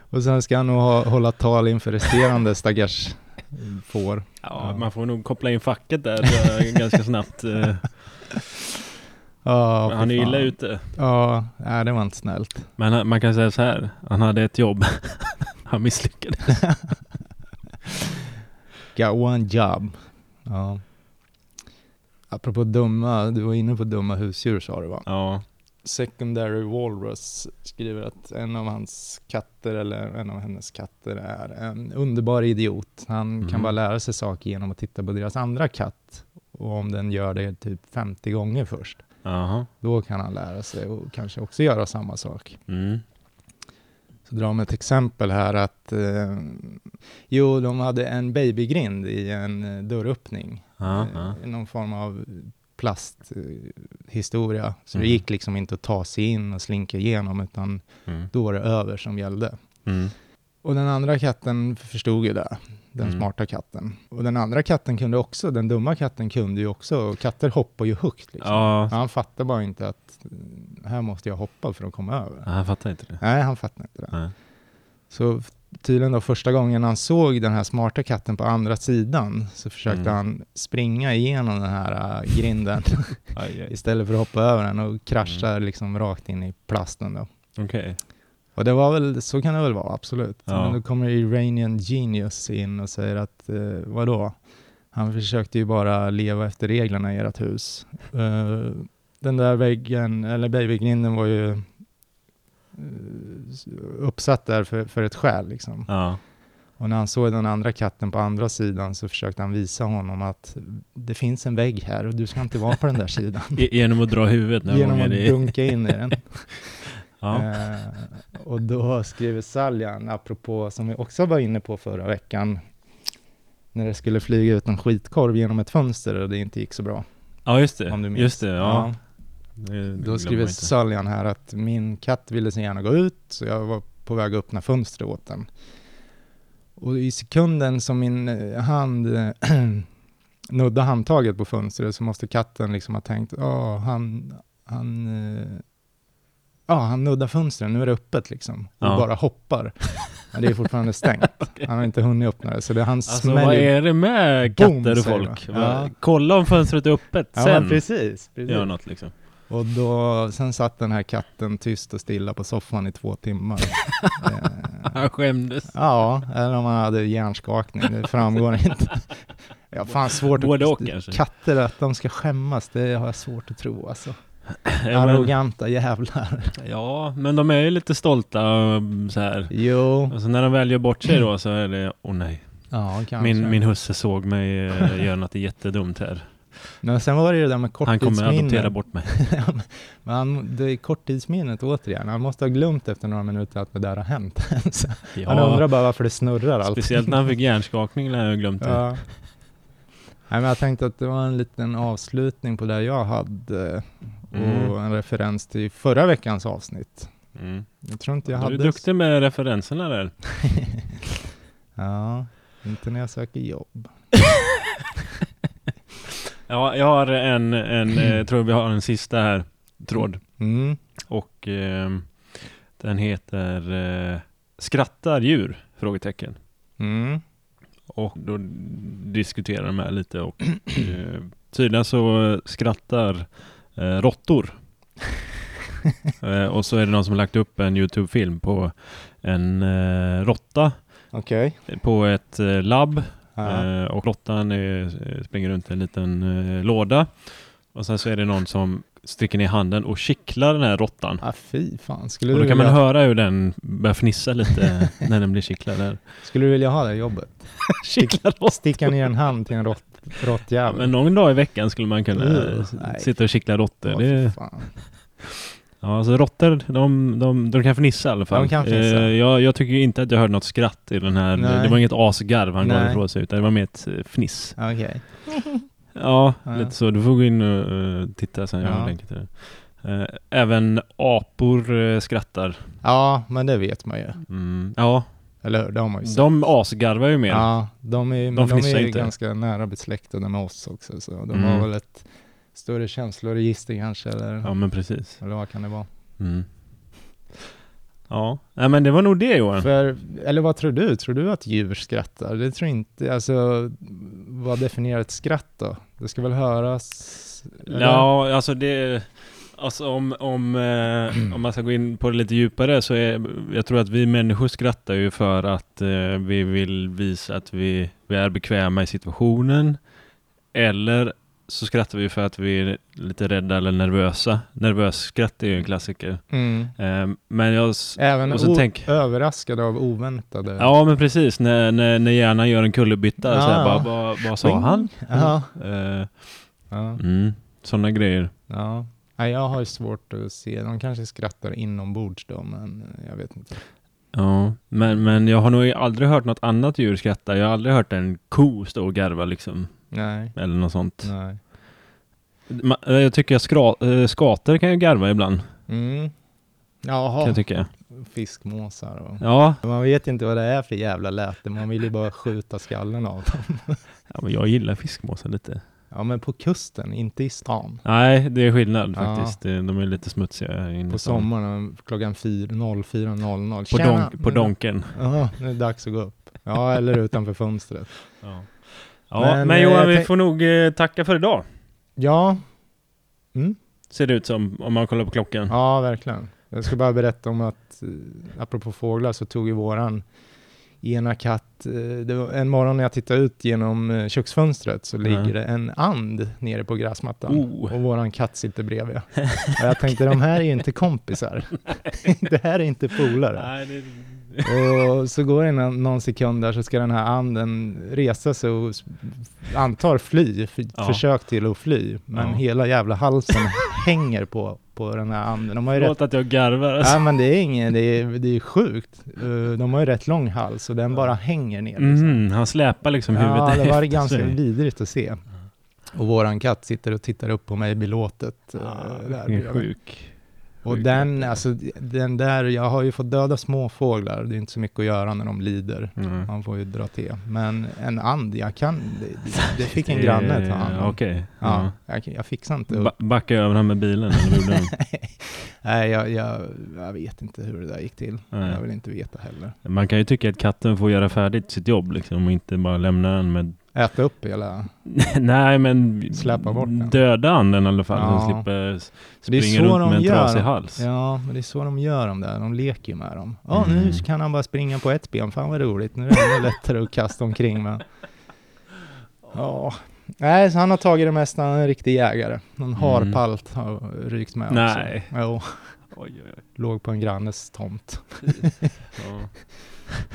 [SPEAKER 1] och sen ska han nog ha, hålla tal inför resterande stackars får.
[SPEAKER 2] Ja, man får nog koppla in facket där eh, ganska snabbt. eh.
[SPEAKER 1] Ja, fy
[SPEAKER 2] Han är illa
[SPEAKER 1] fan.
[SPEAKER 2] ute.
[SPEAKER 1] Ja, nej, det var inte snällt.
[SPEAKER 2] Men han- man kan säga så här, han hade ett jobb. Han misslyckades.
[SPEAKER 1] Got one job. Ja. Apropå dumma, du var inne på dumma husdjur sa du va?
[SPEAKER 2] Ja,
[SPEAKER 1] Secondary Walrus skriver att en av hans katter, eller en av hennes katter, är en underbar idiot. Han
[SPEAKER 2] Mhm.
[SPEAKER 1] kan bara lära sig saker genom att titta på deras andra katt. Och om den gör det typ 50 gånger först,
[SPEAKER 2] jaha.
[SPEAKER 1] då kan han lära sig och kanske också göra samma sak.
[SPEAKER 2] Mm.
[SPEAKER 1] Så drar de ett exempel här att, eh, jo, de hade en babygrind i en eh, dörröppning
[SPEAKER 2] Ja,
[SPEAKER 1] eh,
[SPEAKER 2] ja.
[SPEAKER 1] någon form av plasthistoria. Så det
[SPEAKER 2] Mm.
[SPEAKER 1] gick liksom inte att ta sig in och slinka igenom, utan
[SPEAKER 2] Mm.
[SPEAKER 1] då var det över som gällde.
[SPEAKER 2] Mm.
[SPEAKER 1] Och den andra katten förstod ju det, den
[SPEAKER 2] Mm.
[SPEAKER 1] smarta katten. Och den andra katten kunde också, den dumma katten kunde ju också, och katter hoppar ju högt. Liksom.
[SPEAKER 2] ja.
[SPEAKER 1] Han fattar bara inte att eh, här måste jag hoppa för att komma över.
[SPEAKER 2] Ja, jag fattar inte det.
[SPEAKER 1] Nej, han fattar inte det.
[SPEAKER 2] Nej.
[SPEAKER 1] Så f- tydligen då första gången han såg den här smarta katten på andra sidan så försökte
[SPEAKER 2] Mm.
[SPEAKER 1] han springa igenom den här äh, grinden
[SPEAKER 2] Aj, aj.
[SPEAKER 1] istället för att hoppa över den och krascha
[SPEAKER 2] Mm.
[SPEAKER 1] liksom rakt in i plasten då.
[SPEAKER 2] Okej.
[SPEAKER 1] Och det var väl, så kan det väl vara, absolut.
[SPEAKER 2] Ja.
[SPEAKER 1] Men då kommer Iranian Genius in och säger att, eh, vadå? Han försökte ju bara leva efter reglerna i ert hus. Eh, den där väggen, eller babygrinden var ju eh, s- uppsatt där för, för ett skäl liksom.
[SPEAKER 2] Ja.
[SPEAKER 1] Och när han såg den andra katten på andra sidan så försökte han visa honom att det finns en vägg här och du ska inte vara på den där sidan.
[SPEAKER 2] Ge- Genom att dra huvudet när
[SPEAKER 1] Genom
[SPEAKER 2] många
[SPEAKER 1] att
[SPEAKER 2] det.
[SPEAKER 1] dunka in i den.
[SPEAKER 2] Ja.
[SPEAKER 1] Eh, och då skriver Saljan, apropå, som vi också var inne på förra veckan, när det skulle flyga ut en skitkorv genom ett fönster och det inte gick så bra.
[SPEAKER 2] ja, just det.
[SPEAKER 1] Om du minns.
[SPEAKER 2] Eh, Just det, ja.
[SPEAKER 1] Ja,
[SPEAKER 2] Det glömmer
[SPEAKER 1] då
[SPEAKER 2] man
[SPEAKER 1] skriver
[SPEAKER 2] inte.
[SPEAKER 1] Saljan här att min katt ville så gärna gå ut, så jag var på väg att öppna fönstret åt den. Och i sekunden som min eh, hand eh, nuddar handtaget på fönstret så måste katten liksom ha tänkt, ja, han, han, eh, ja, han nuddar fönstret, nu är det öppet liksom. Och
[SPEAKER 2] Ja.
[SPEAKER 1] bara hoppar. Men det är fortfarande stängt. Han har inte hunnit öppna det, så det han
[SPEAKER 2] Alltså
[SPEAKER 1] smäller.
[SPEAKER 2] vad är det med
[SPEAKER 1] Boom,
[SPEAKER 2] katter och
[SPEAKER 1] säger
[SPEAKER 2] folk?
[SPEAKER 1] man.
[SPEAKER 2] Va-
[SPEAKER 1] Ja.
[SPEAKER 2] Kolla om fönstret är öppet
[SPEAKER 1] Ja, men
[SPEAKER 2] sen.
[SPEAKER 1] precis. precis.
[SPEAKER 2] Gör något liksom.
[SPEAKER 1] Och då, sen satt den här katten tyst och stilla på soffan i två timmar. eh,
[SPEAKER 2] Han skämdes.
[SPEAKER 1] ja, eller om han hade hjärnskakning, det framgår inte. Jag har fan svårt
[SPEAKER 2] Både
[SPEAKER 1] att...
[SPEAKER 2] och kanske.
[SPEAKER 1] Katter, att de ska skämmas, det har jag svårt att tro alltså.
[SPEAKER 2] Ja, men-
[SPEAKER 1] Arroganta jävlar.
[SPEAKER 2] Ja, men de är ju lite stolta och så här.
[SPEAKER 1] Jo.
[SPEAKER 2] Och så när de väl gör bort sig då så är det, åh nej.
[SPEAKER 1] Ja, kanske.
[SPEAKER 2] Min, min husse såg mig eh, göra något jättedumt här.
[SPEAKER 1] Men sen var det ju det där med
[SPEAKER 2] Han kommer att
[SPEAKER 1] korttidsminnet.
[SPEAKER 2] adoptera bort mig.
[SPEAKER 1] Men han, det är korttidsminnet återigen. Han måste ha glömt efter några minuter att det där har hänt. Så Han undrar bara varför det snurrar allt.
[SPEAKER 2] speciellt när han fick hjärnskakning lär jag ha glömt det.
[SPEAKER 1] Ja. Nej, men jag tänkte att det var en liten avslutning på det jag hade och
[SPEAKER 2] Mm.
[SPEAKER 1] en referens till förra veckans avsnitt.
[SPEAKER 2] Mm.
[SPEAKER 1] Jag tror inte
[SPEAKER 2] Du
[SPEAKER 1] jag
[SPEAKER 2] är
[SPEAKER 1] hade...
[SPEAKER 2] duktig med referenserna där.
[SPEAKER 1] ja, inte när jag söker jobb.
[SPEAKER 2] Ja, jag har en, en eh, tror vi har en sista här, tråd.
[SPEAKER 1] Mm.
[SPEAKER 2] Och ehm, den heter eh, Skrattar djur? Frågetecken.
[SPEAKER 1] Mm.
[SPEAKER 2] Och då diskuterar de här lite och eh, tydligen så skrattar eh, råttor. eh, och så är det någon som har lagt upp en Youtube-film på en eh, råtta
[SPEAKER 1] Okej.
[SPEAKER 2] på ett eh, labb
[SPEAKER 1] Ja.
[SPEAKER 2] Eh, och råttan är- eh, springer runt i en liten eh, låda. Och sen så är det någon som sticker ner handen och kittlar den här råttan.
[SPEAKER 1] Ah, fy fan. Skulle
[SPEAKER 2] Och
[SPEAKER 1] du,
[SPEAKER 2] då kan
[SPEAKER 1] vilja,
[SPEAKER 2] man höra hur den börjar fnissa lite när den blir kittlad. Där.
[SPEAKER 1] skulle du vilja ha det jobbet?
[SPEAKER 2] Kittlar råttan.
[SPEAKER 1] Sticka ner en hand till en rått- råttjävel?
[SPEAKER 2] Men någon dag i veckan skulle man kunna
[SPEAKER 1] Ugh,
[SPEAKER 2] s-
[SPEAKER 1] Mm. nej.
[SPEAKER 2] sitta och kittla råttor.
[SPEAKER 1] Åh,
[SPEAKER 2] Det,
[SPEAKER 1] fan.
[SPEAKER 2] ja, alltså råttor, de, de, de kan fnissa i alla fall.
[SPEAKER 1] De kan fnissa.
[SPEAKER 2] Eh, jag, jag tycker inte att jag hörde något skratt i den här.
[SPEAKER 1] Nej.
[SPEAKER 2] Det var inget asgarv han gav
[SPEAKER 1] Nej.
[SPEAKER 2] ifrån sig, utan det var mer ett eh, fniss.
[SPEAKER 1] Okej.
[SPEAKER 2] Ja,
[SPEAKER 1] Ja.
[SPEAKER 2] lite så. Du får gå in och eh, titta sen. Jag har
[SPEAKER 1] Ja.
[SPEAKER 2] länkat till det. Eh, även apor eh, skrattar.
[SPEAKER 1] Ja, men det vet man ju.
[SPEAKER 2] Mm. Ja,
[SPEAKER 1] Eller hur? Det har man ju sett.
[SPEAKER 2] de asgarvar ju mer.
[SPEAKER 1] Ja, de är, men
[SPEAKER 2] De
[SPEAKER 1] de
[SPEAKER 2] fnissar
[SPEAKER 1] är ju
[SPEAKER 2] inte.
[SPEAKER 1] ganska nära besläktade med oss också, så de
[SPEAKER 2] Mm.
[SPEAKER 1] har väl ett större känsloregister kanske, eller,
[SPEAKER 2] Ja, men precis.
[SPEAKER 1] eller vad kan det vara?
[SPEAKER 2] Mm. Ja, Nej, men det var nog det Johan.
[SPEAKER 1] För, eller vad tror du? Tror du att djur skrattar? Det tror inte, alltså vad definierar ett skratt då? Det ska väl höras? eller?
[SPEAKER 2] Ja, alltså det... Alltså om, om, eh, om man ska gå in på det lite djupare så är, jag tror att vi människor skrattar ju för att eh, vi vill visa att vi, vi är bekväma i situationen. Eller så skrattar vi för att vi är lite rädda eller nervösa. Nervös skratt är ju en klassiker.
[SPEAKER 1] Mm.
[SPEAKER 2] Eh, men jag... s-
[SPEAKER 1] Även
[SPEAKER 2] Och så
[SPEAKER 1] o-
[SPEAKER 2] tänk-
[SPEAKER 1] överraskade av oväntade...
[SPEAKER 2] Ja men precis, när, när, när hjärnan gör en kullerbytta så här,
[SPEAKER 1] Ja.
[SPEAKER 2] bara, vad, vad sa han?
[SPEAKER 1] Ja.
[SPEAKER 2] Eh,
[SPEAKER 1] ja.
[SPEAKER 2] mm, Sådana grejer.
[SPEAKER 1] ja. Nej, jag har ju svårt att se. De kanske skrattar inombords då, men jag vet inte.
[SPEAKER 2] Ja, men, men jag har nog aldrig hört något annat djur skratta. Jag har aldrig hört en ko stå och garva liksom,
[SPEAKER 1] Nej.
[SPEAKER 2] eller något sånt.
[SPEAKER 1] Nej.
[SPEAKER 2] Ma- eh, Jag tycker att skra- eh, skator kan ju garva ibland,
[SPEAKER 1] Mm.
[SPEAKER 2] kan
[SPEAKER 1] Jaha,
[SPEAKER 2] jag tycka.
[SPEAKER 1] fiskmåsar och...
[SPEAKER 2] Ja,
[SPEAKER 1] Man vet inte vad det är för jävla läte, man vill ju bara skjuta skallen av dem.
[SPEAKER 2] ja men jag gillar fiskmåsar lite.
[SPEAKER 1] Ja, men på kusten, inte i stan.
[SPEAKER 2] Nej, det är skillnad
[SPEAKER 1] Ja.
[SPEAKER 2] faktiskt. Det- De är lite smutsiga här inne.
[SPEAKER 1] På sommaren klockan 4- 04.00.
[SPEAKER 2] Mm. På,
[SPEAKER 1] Tjena,
[SPEAKER 2] donk, på
[SPEAKER 1] nu-
[SPEAKER 2] donken.
[SPEAKER 1] Ja, nu är det dags att gå upp. Ja, eller utanför fönstret.
[SPEAKER 2] Ja, ja men,
[SPEAKER 1] Men, eh,
[SPEAKER 2] Johan,
[SPEAKER 1] jag
[SPEAKER 2] vi
[SPEAKER 1] tänk-
[SPEAKER 2] får nog eh, tacka för idag.
[SPEAKER 1] Ja, mm.
[SPEAKER 2] Ser det ut som, om man kollar på klockan.
[SPEAKER 1] ja verkligen. Jag ska bara berätta om att, eh, apropå fåglar, så tog ju våran ena katt, eh, det var en morgon när jag tittade ut genom eh, köksfönstret så ligger det en and nere på gräsmattan.
[SPEAKER 2] Oh.
[SPEAKER 1] Och våran katt sitter bredvid. Och jag tänkte, de här är ju inte kompisar. det här är inte polare.
[SPEAKER 2] Nej, det...
[SPEAKER 1] Och så går det någon, någon sekund där så ska den här anden resa sig och s- antar fly, f-
[SPEAKER 2] Ja.
[SPEAKER 1] försök till att fly. Men
[SPEAKER 2] Ja.
[SPEAKER 1] hela jävla halsen hänger på, på den här anden. De har ju rätt,
[SPEAKER 2] Förlåt att jag garvar. Alltså.
[SPEAKER 1] ja, men det är inget, det är, det är sjukt. Eh, De har ju rätt lång hals och den bara hänger ner. liksom.
[SPEAKER 2] Mm, han släpar liksom huvudet
[SPEAKER 1] Ja, det var
[SPEAKER 2] efter
[SPEAKER 1] ganska
[SPEAKER 2] sig.
[SPEAKER 1] vidrigt att se. Och våran katt sitter och tittar upp på mig belåtet. eh,
[SPEAKER 2] Ja,
[SPEAKER 1] där
[SPEAKER 2] vilken
[SPEAKER 1] bredvid.
[SPEAKER 2] sjuk.
[SPEAKER 1] och
[SPEAKER 2] sjuk
[SPEAKER 1] den, alltså, den där, jag har ju fått döda småfåglar, det är inte så mycket att göra när de lider.
[SPEAKER 2] Mm.
[SPEAKER 1] Man får ju dra till. Men en and, jag kan, det, det fick en granne ta hand
[SPEAKER 2] Eh,
[SPEAKER 1] om.
[SPEAKER 2] Okej.
[SPEAKER 1] Ja, jag, jag fixar inte
[SPEAKER 2] Ja.
[SPEAKER 1] upp.
[SPEAKER 2] Ba- backa över han med bilen eller vad gjorde han?
[SPEAKER 1] Nej, jag, jag, jag vet inte hur det där gick till. Jag
[SPEAKER 2] Nej.
[SPEAKER 1] vill inte veta heller.
[SPEAKER 2] Man kan ju tycka att katten får göra färdigt sitt jobb liksom och inte bara lämna den med...
[SPEAKER 1] Äta upp hela...
[SPEAKER 2] Nej men...
[SPEAKER 1] Släpa bort den.
[SPEAKER 2] Döda anden i alla fall så
[SPEAKER 1] Ja.
[SPEAKER 2] den slipper s-
[SPEAKER 1] Det är
[SPEAKER 2] springa
[SPEAKER 1] så
[SPEAKER 2] runt
[SPEAKER 1] de
[SPEAKER 2] med en
[SPEAKER 1] gör.
[SPEAKER 2] trasig hals.
[SPEAKER 1] Ja, men det är så de gör de där. De leker ju med dem. Ja, nu
[SPEAKER 2] Mm.
[SPEAKER 1] kan han bara springa på ett ben. Fan vad roligt. Nu är det ännu lättare att kasta omkring men Ja, Nej, så han har tagit det mesta, han är en riktig jägare. Någon
[SPEAKER 2] Mm.
[SPEAKER 1] harpalt har rykt med
[SPEAKER 2] Nej.
[SPEAKER 1] också. Jo,
[SPEAKER 2] Oj, oj, oj.
[SPEAKER 1] låg på en grannes tomt.
[SPEAKER 2] Ja.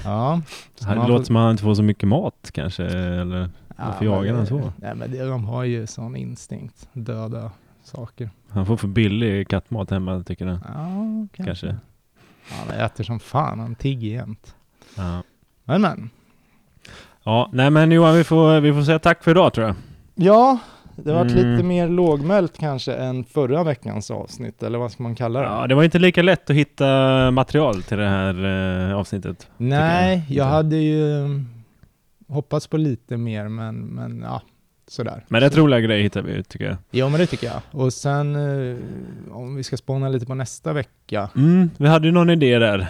[SPEAKER 1] Ja. så
[SPEAKER 2] Det
[SPEAKER 1] man
[SPEAKER 2] låter
[SPEAKER 1] får-
[SPEAKER 2] som att han inte får så mycket mat kanske. Eller? varför
[SPEAKER 1] men
[SPEAKER 2] jagar han
[SPEAKER 1] det-
[SPEAKER 2] så?
[SPEAKER 1] Nej men det, de har ju sån instinkt, döda saker.
[SPEAKER 2] Han får för billig kattmat hemma tycker han.
[SPEAKER 1] Ja, kanske.
[SPEAKER 2] Kanske.
[SPEAKER 1] Han äter som fan, han tigger jämt.
[SPEAKER 2] Ja.
[SPEAKER 1] Men men.
[SPEAKER 2] ja, nej men Johan vi får, vi får säga tack för idag tror jag.
[SPEAKER 1] Ja, det var
[SPEAKER 2] Mm.
[SPEAKER 1] lite mer lågmält kanske än förra veckans avsnitt, eller vad ska man kalla det?
[SPEAKER 2] Ja, det var inte lika lätt att hitta material till det här eh, avsnittet.
[SPEAKER 1] Nej,
[SPEAKER 2] tycker jag.
[SPEAKER 1] jag hade ju mm, hoppats på lite mer, men, men ja, sådär.
[SPEAKER 2] Men rätt roliga grejer hittar vi tycker jag.
[SPEAKER 1] Jo, men det tycker jag. Och sen eh, om vi ska spåna lite på nästa vecka,
[SPEAKER 2] Mm, vi hade ju någon idé där.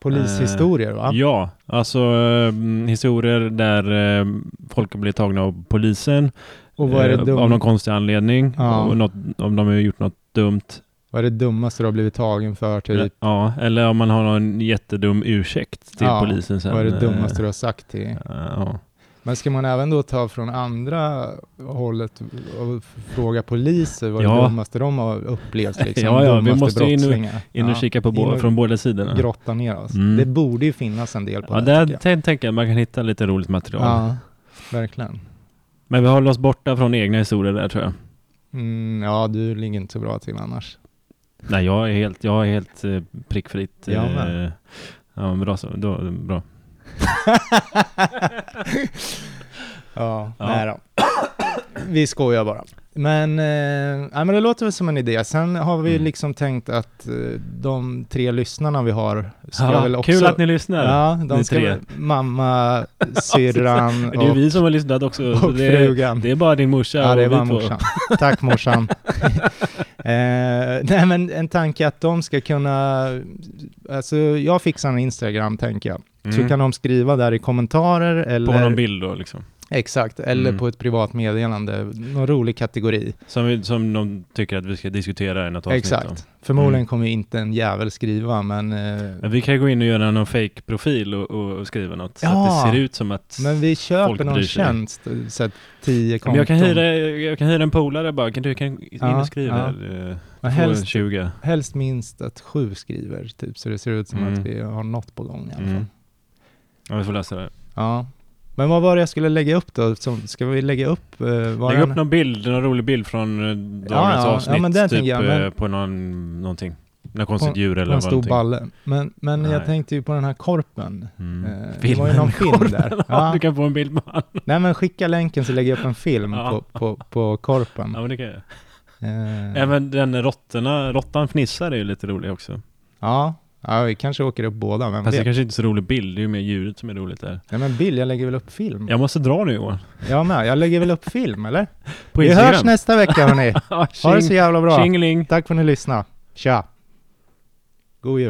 [SPEAKER 1] polishistorier va?
[SPEAKER 2] Ja, alltså eh, historier där eh, folk har blivit tagna av polisen
[SPEAKER 1] Och vad är, det
[SPEAKER 2] eh, av någon
[SPEAKER 1] dum-
[SPEAKER 2] konstig anledning.
[SPEAKER 1] Ja.
[SPEAKER 2] Och något, om de har gjort något dumt.
[SPEAKER 1] vad är det dummaste du har blivit tagen för? Typ?
[SPEAKER 2] Ja, eller om man har någon jättedum ursäkt till
[SPEAKER 1] Ja,
[SPEAKER 2] polisen sen.
[SPEAKER 1] Vad är det dummaste
[SPEAKER 2] Eh,
[SPEAKER 1] du har sagt till?
[SPEAKER 2] Ja,
[SPEAKER 1] Men ska man även då ta från andra hållet och fråga poliser vad det
[SPEAKER 2] Ja.
[SPEAKER 1] dummaste de har upplevt? Liksom,
[SPEAKER 2] Ja, ja, vi
[SPEAKER 1] dummaste
[SPEAKER 2] måste in och-
[SPEAKER 1] brottslingar.
[SPEAKER 2] in och
[SPEAKER 1] Ja,
[SPEAKER 2] kika på
[SPEAKER 1] in
[SPEAKER 2] båda,
[SPEAKER 1] och
[SPEAKER 2] från båda sidorna.
[SPEAKER 1] Grotta ner oss.
[SPEAKER 2] Mm.
[SPEAKER 1] Det borde ju finnas en del på
[SPEAKER 2] Ja,
[SPEAKER 1] det.
[SPEAKER 2] där
[SPEAKER 1] tycker
[SPEAKER 2] tänker jag att man kan hitta lite roligt
[SPEAKER 1] jag.
[SPEAKER 2] material.
[SPEAKER 1] ja, verkligen.
[SPEAKER 2] Men vi håller oss borta från egna historier där tror jag.
[SPEAKER 1] Mm, ja, du ligger inte så bra till annars.
[SPEAKER 2] Nej, jag är helt, jag är helt eh, prickfritt.
[SPEAKER 1] Jag
[SPEAKER 2] eh,
[SPEAKER 1] med.
[SPEAKER 2] Ja, bra så. Då, bra.
[SPEAKER 1] Ja,
[SPEAKER 2] Ja.
[SPEAKER 1] nej då. Vi skojar bara. Men, eh, nej, men det låter väl som en idé. Sen har vi
[SPEAKER 2] Mm.
[SPEAKER 1] liksom tänkt att eh, de tre lyssnarna vi har ska
[SPEAKER 2] Ja,
[SPEAKER 1] väl också...
[SPEAKER 2] Kul att ni lyssnar.
[SPEAKER 1] Ja, de
[SPEAKER 2] ni
[SPEAKER 1] ska
[SPEAKER 2] tre.
[SPEAKER 1] väl- mamma, syrran
[SPEAKER 2] det är ju
[SPEAKER 1] och,
[SPEAKER 2] vi som har lyssnat också. så
[SPEAKER 1] och
[SPEAKER 2] det, är,
[SPEAKER 1] frugan.
[SPEAKER 2] det är bara din morsa
[SPEAKER 1] ja,
[SPEAKER 2] och
[SPEAKER 1] det
[SPEAKER 2] vi
[SPEAKER 1] var
[SPEAKER 2] två.
[SPEAKER 1] morsan. Tack morsan. eh, nej, men en tanke att de ska kunna... Alltså, jag fixar en Instagram, tänker jag. Så
[SPEAKER 2] Mm.
[SPEAKER 1] kan de skriva där i kommentarer
[SPEAKER 2] På
[SPEAKER 1] eller...
[SPEAKER 2] någon bild då liksom.
[SPEAKER 1] Exakt, eller
[SPEAKER 2] Mm.
[SPEAKER 1] på ett privat meddelande. Någon rolig kategori.
[SPEAKER 2] Som, vi, som de tycker att vi ska diskutera i något avsnitt.
[SPEAKER 1] Exakt.
[SPEAKER 2] om.
[SPEAKER 1] Förmodligen
[SPEAKER 2] Mm.
[SPEAKER 1] kommer ju inte en jävel skriva, men... Eh,
[SPEAKER 2] Men vi kan gå in och göra någon fake profil och, och, och skriva något. Så
[SPEAKER 1] Ja.
[SPEAKER 2] att det ser ut som att...
[SPEAKER 1] men vi
[SPEAKER 2] folk
[SPEAKER 1] köper någon
[SPEAKER 2] bryr sig.
[SPEAKER 1] tjänst, eh, så att tio konton.
[SPEAKER 2] Men jag, kan hyra, jag kan hyra en polare bara. Kan du kan in
[SPEAKER 1] Ja,
[SPEAKER 2] och skriva? eh, Ja.
[SPEAKER 1] Men helst
[SPEAKER 2] 20.
[SPEAKER 1] Helst minst att sju skriver, typ, så det ser ut som
[SPEAKER 2] Mm.
[SPEAKER 1] att vi har något på gång i alla fall.
[SPEAKER 2] Mm. Ja, vi får lösa det.
[SPEAKER 1] Ja. Men vad var det jag skulle lägga upp då? Som, ska vi lägga upp? eh, var
[SPEAKER 2] Lägg
[SPEAKER 1] den-
[SPEAKER 2] upp någon bild, någon rolig bild från eh, dagens
[SPEAKER 1] ja, ja,
[SPEAKER 2] avsnitt.
[SPEAKER 1] men den
[SPEAKER 2] typ
[SPEAKER 1] tänker jag, men-
[SPEAKER 2] eh, på någon, någonting. Något konstigt
[SPEAKER 1] På-
[SPEAKER 2] djur
[SPEAKER 1] på
[SPEAKER 2] eller
[SPEAKER 1] en
[SPEAKER 2] vad
[SPEAKER 1] stor
[SPEAKER 2] någonting.
[SPEAKER 1] balle. Men, men jag
[SPEAKER 2] Nej.
[SPEAKER 1] tänkte ju på den här korpen.
[SPEAKER 2] Mm.
[SPEAKER 1] Eh, det
[SPEAKER 2] Filmen
[SPEAKER 1] var ju någon
[SPEAKER 2] med
[SPEAKER 1] film
[SPEAKER 2] korpen.
[SPEAKER 1] där.
[SPEAKER 2] Ja,
[SPEAKER 1] Ja.
[SPEAKER 2] du kan få en bild på han.
[SPEAKER 1] Nej men skicka länken så lägger jag upp en film
[SPEAKER 2] Ja.
[SPEAKER 1] på, på, på korpen.
[SPEAKER 2] Ja, men det kan jag.
[SPEAKER 1] Eh,
[SPEAKER 2] Även den råttorna, råttan fnissar är ju lite rolig också.
[SPEAKER 1] ja. ja, vi kanske åker upp båda, vem
[SPEAKER 2] Fast det
[SPEAKER 1] vet?
[SPEAKER 2] kanske inte är så rolig bild, det är ju mer djuret som är roligt där.
[SPEAKER 1] Nej men Bill, jag lägger väl upp film?
[SPEAKER 2] Jag måste dra nu Johan.
[SPEAKER 1] Jag med, jag lägger väl upp film eller?
[SPEAKER 2] På
[SPEAKER 1] vi
[SPEAKER 2] Instagram.
[SPEAKER 1] hörs nästa vecka hörni.
[SPEAKER 2] Ja,
[SPEAKER 1] Ha det
[SPEAKER 2] tjing-
[SPEAKER 1] så jävla bra.
[SPEAKER 2] Tjingeling.
[SPEAKER 1] Tack för att ni lyssnade. Tja! God jul!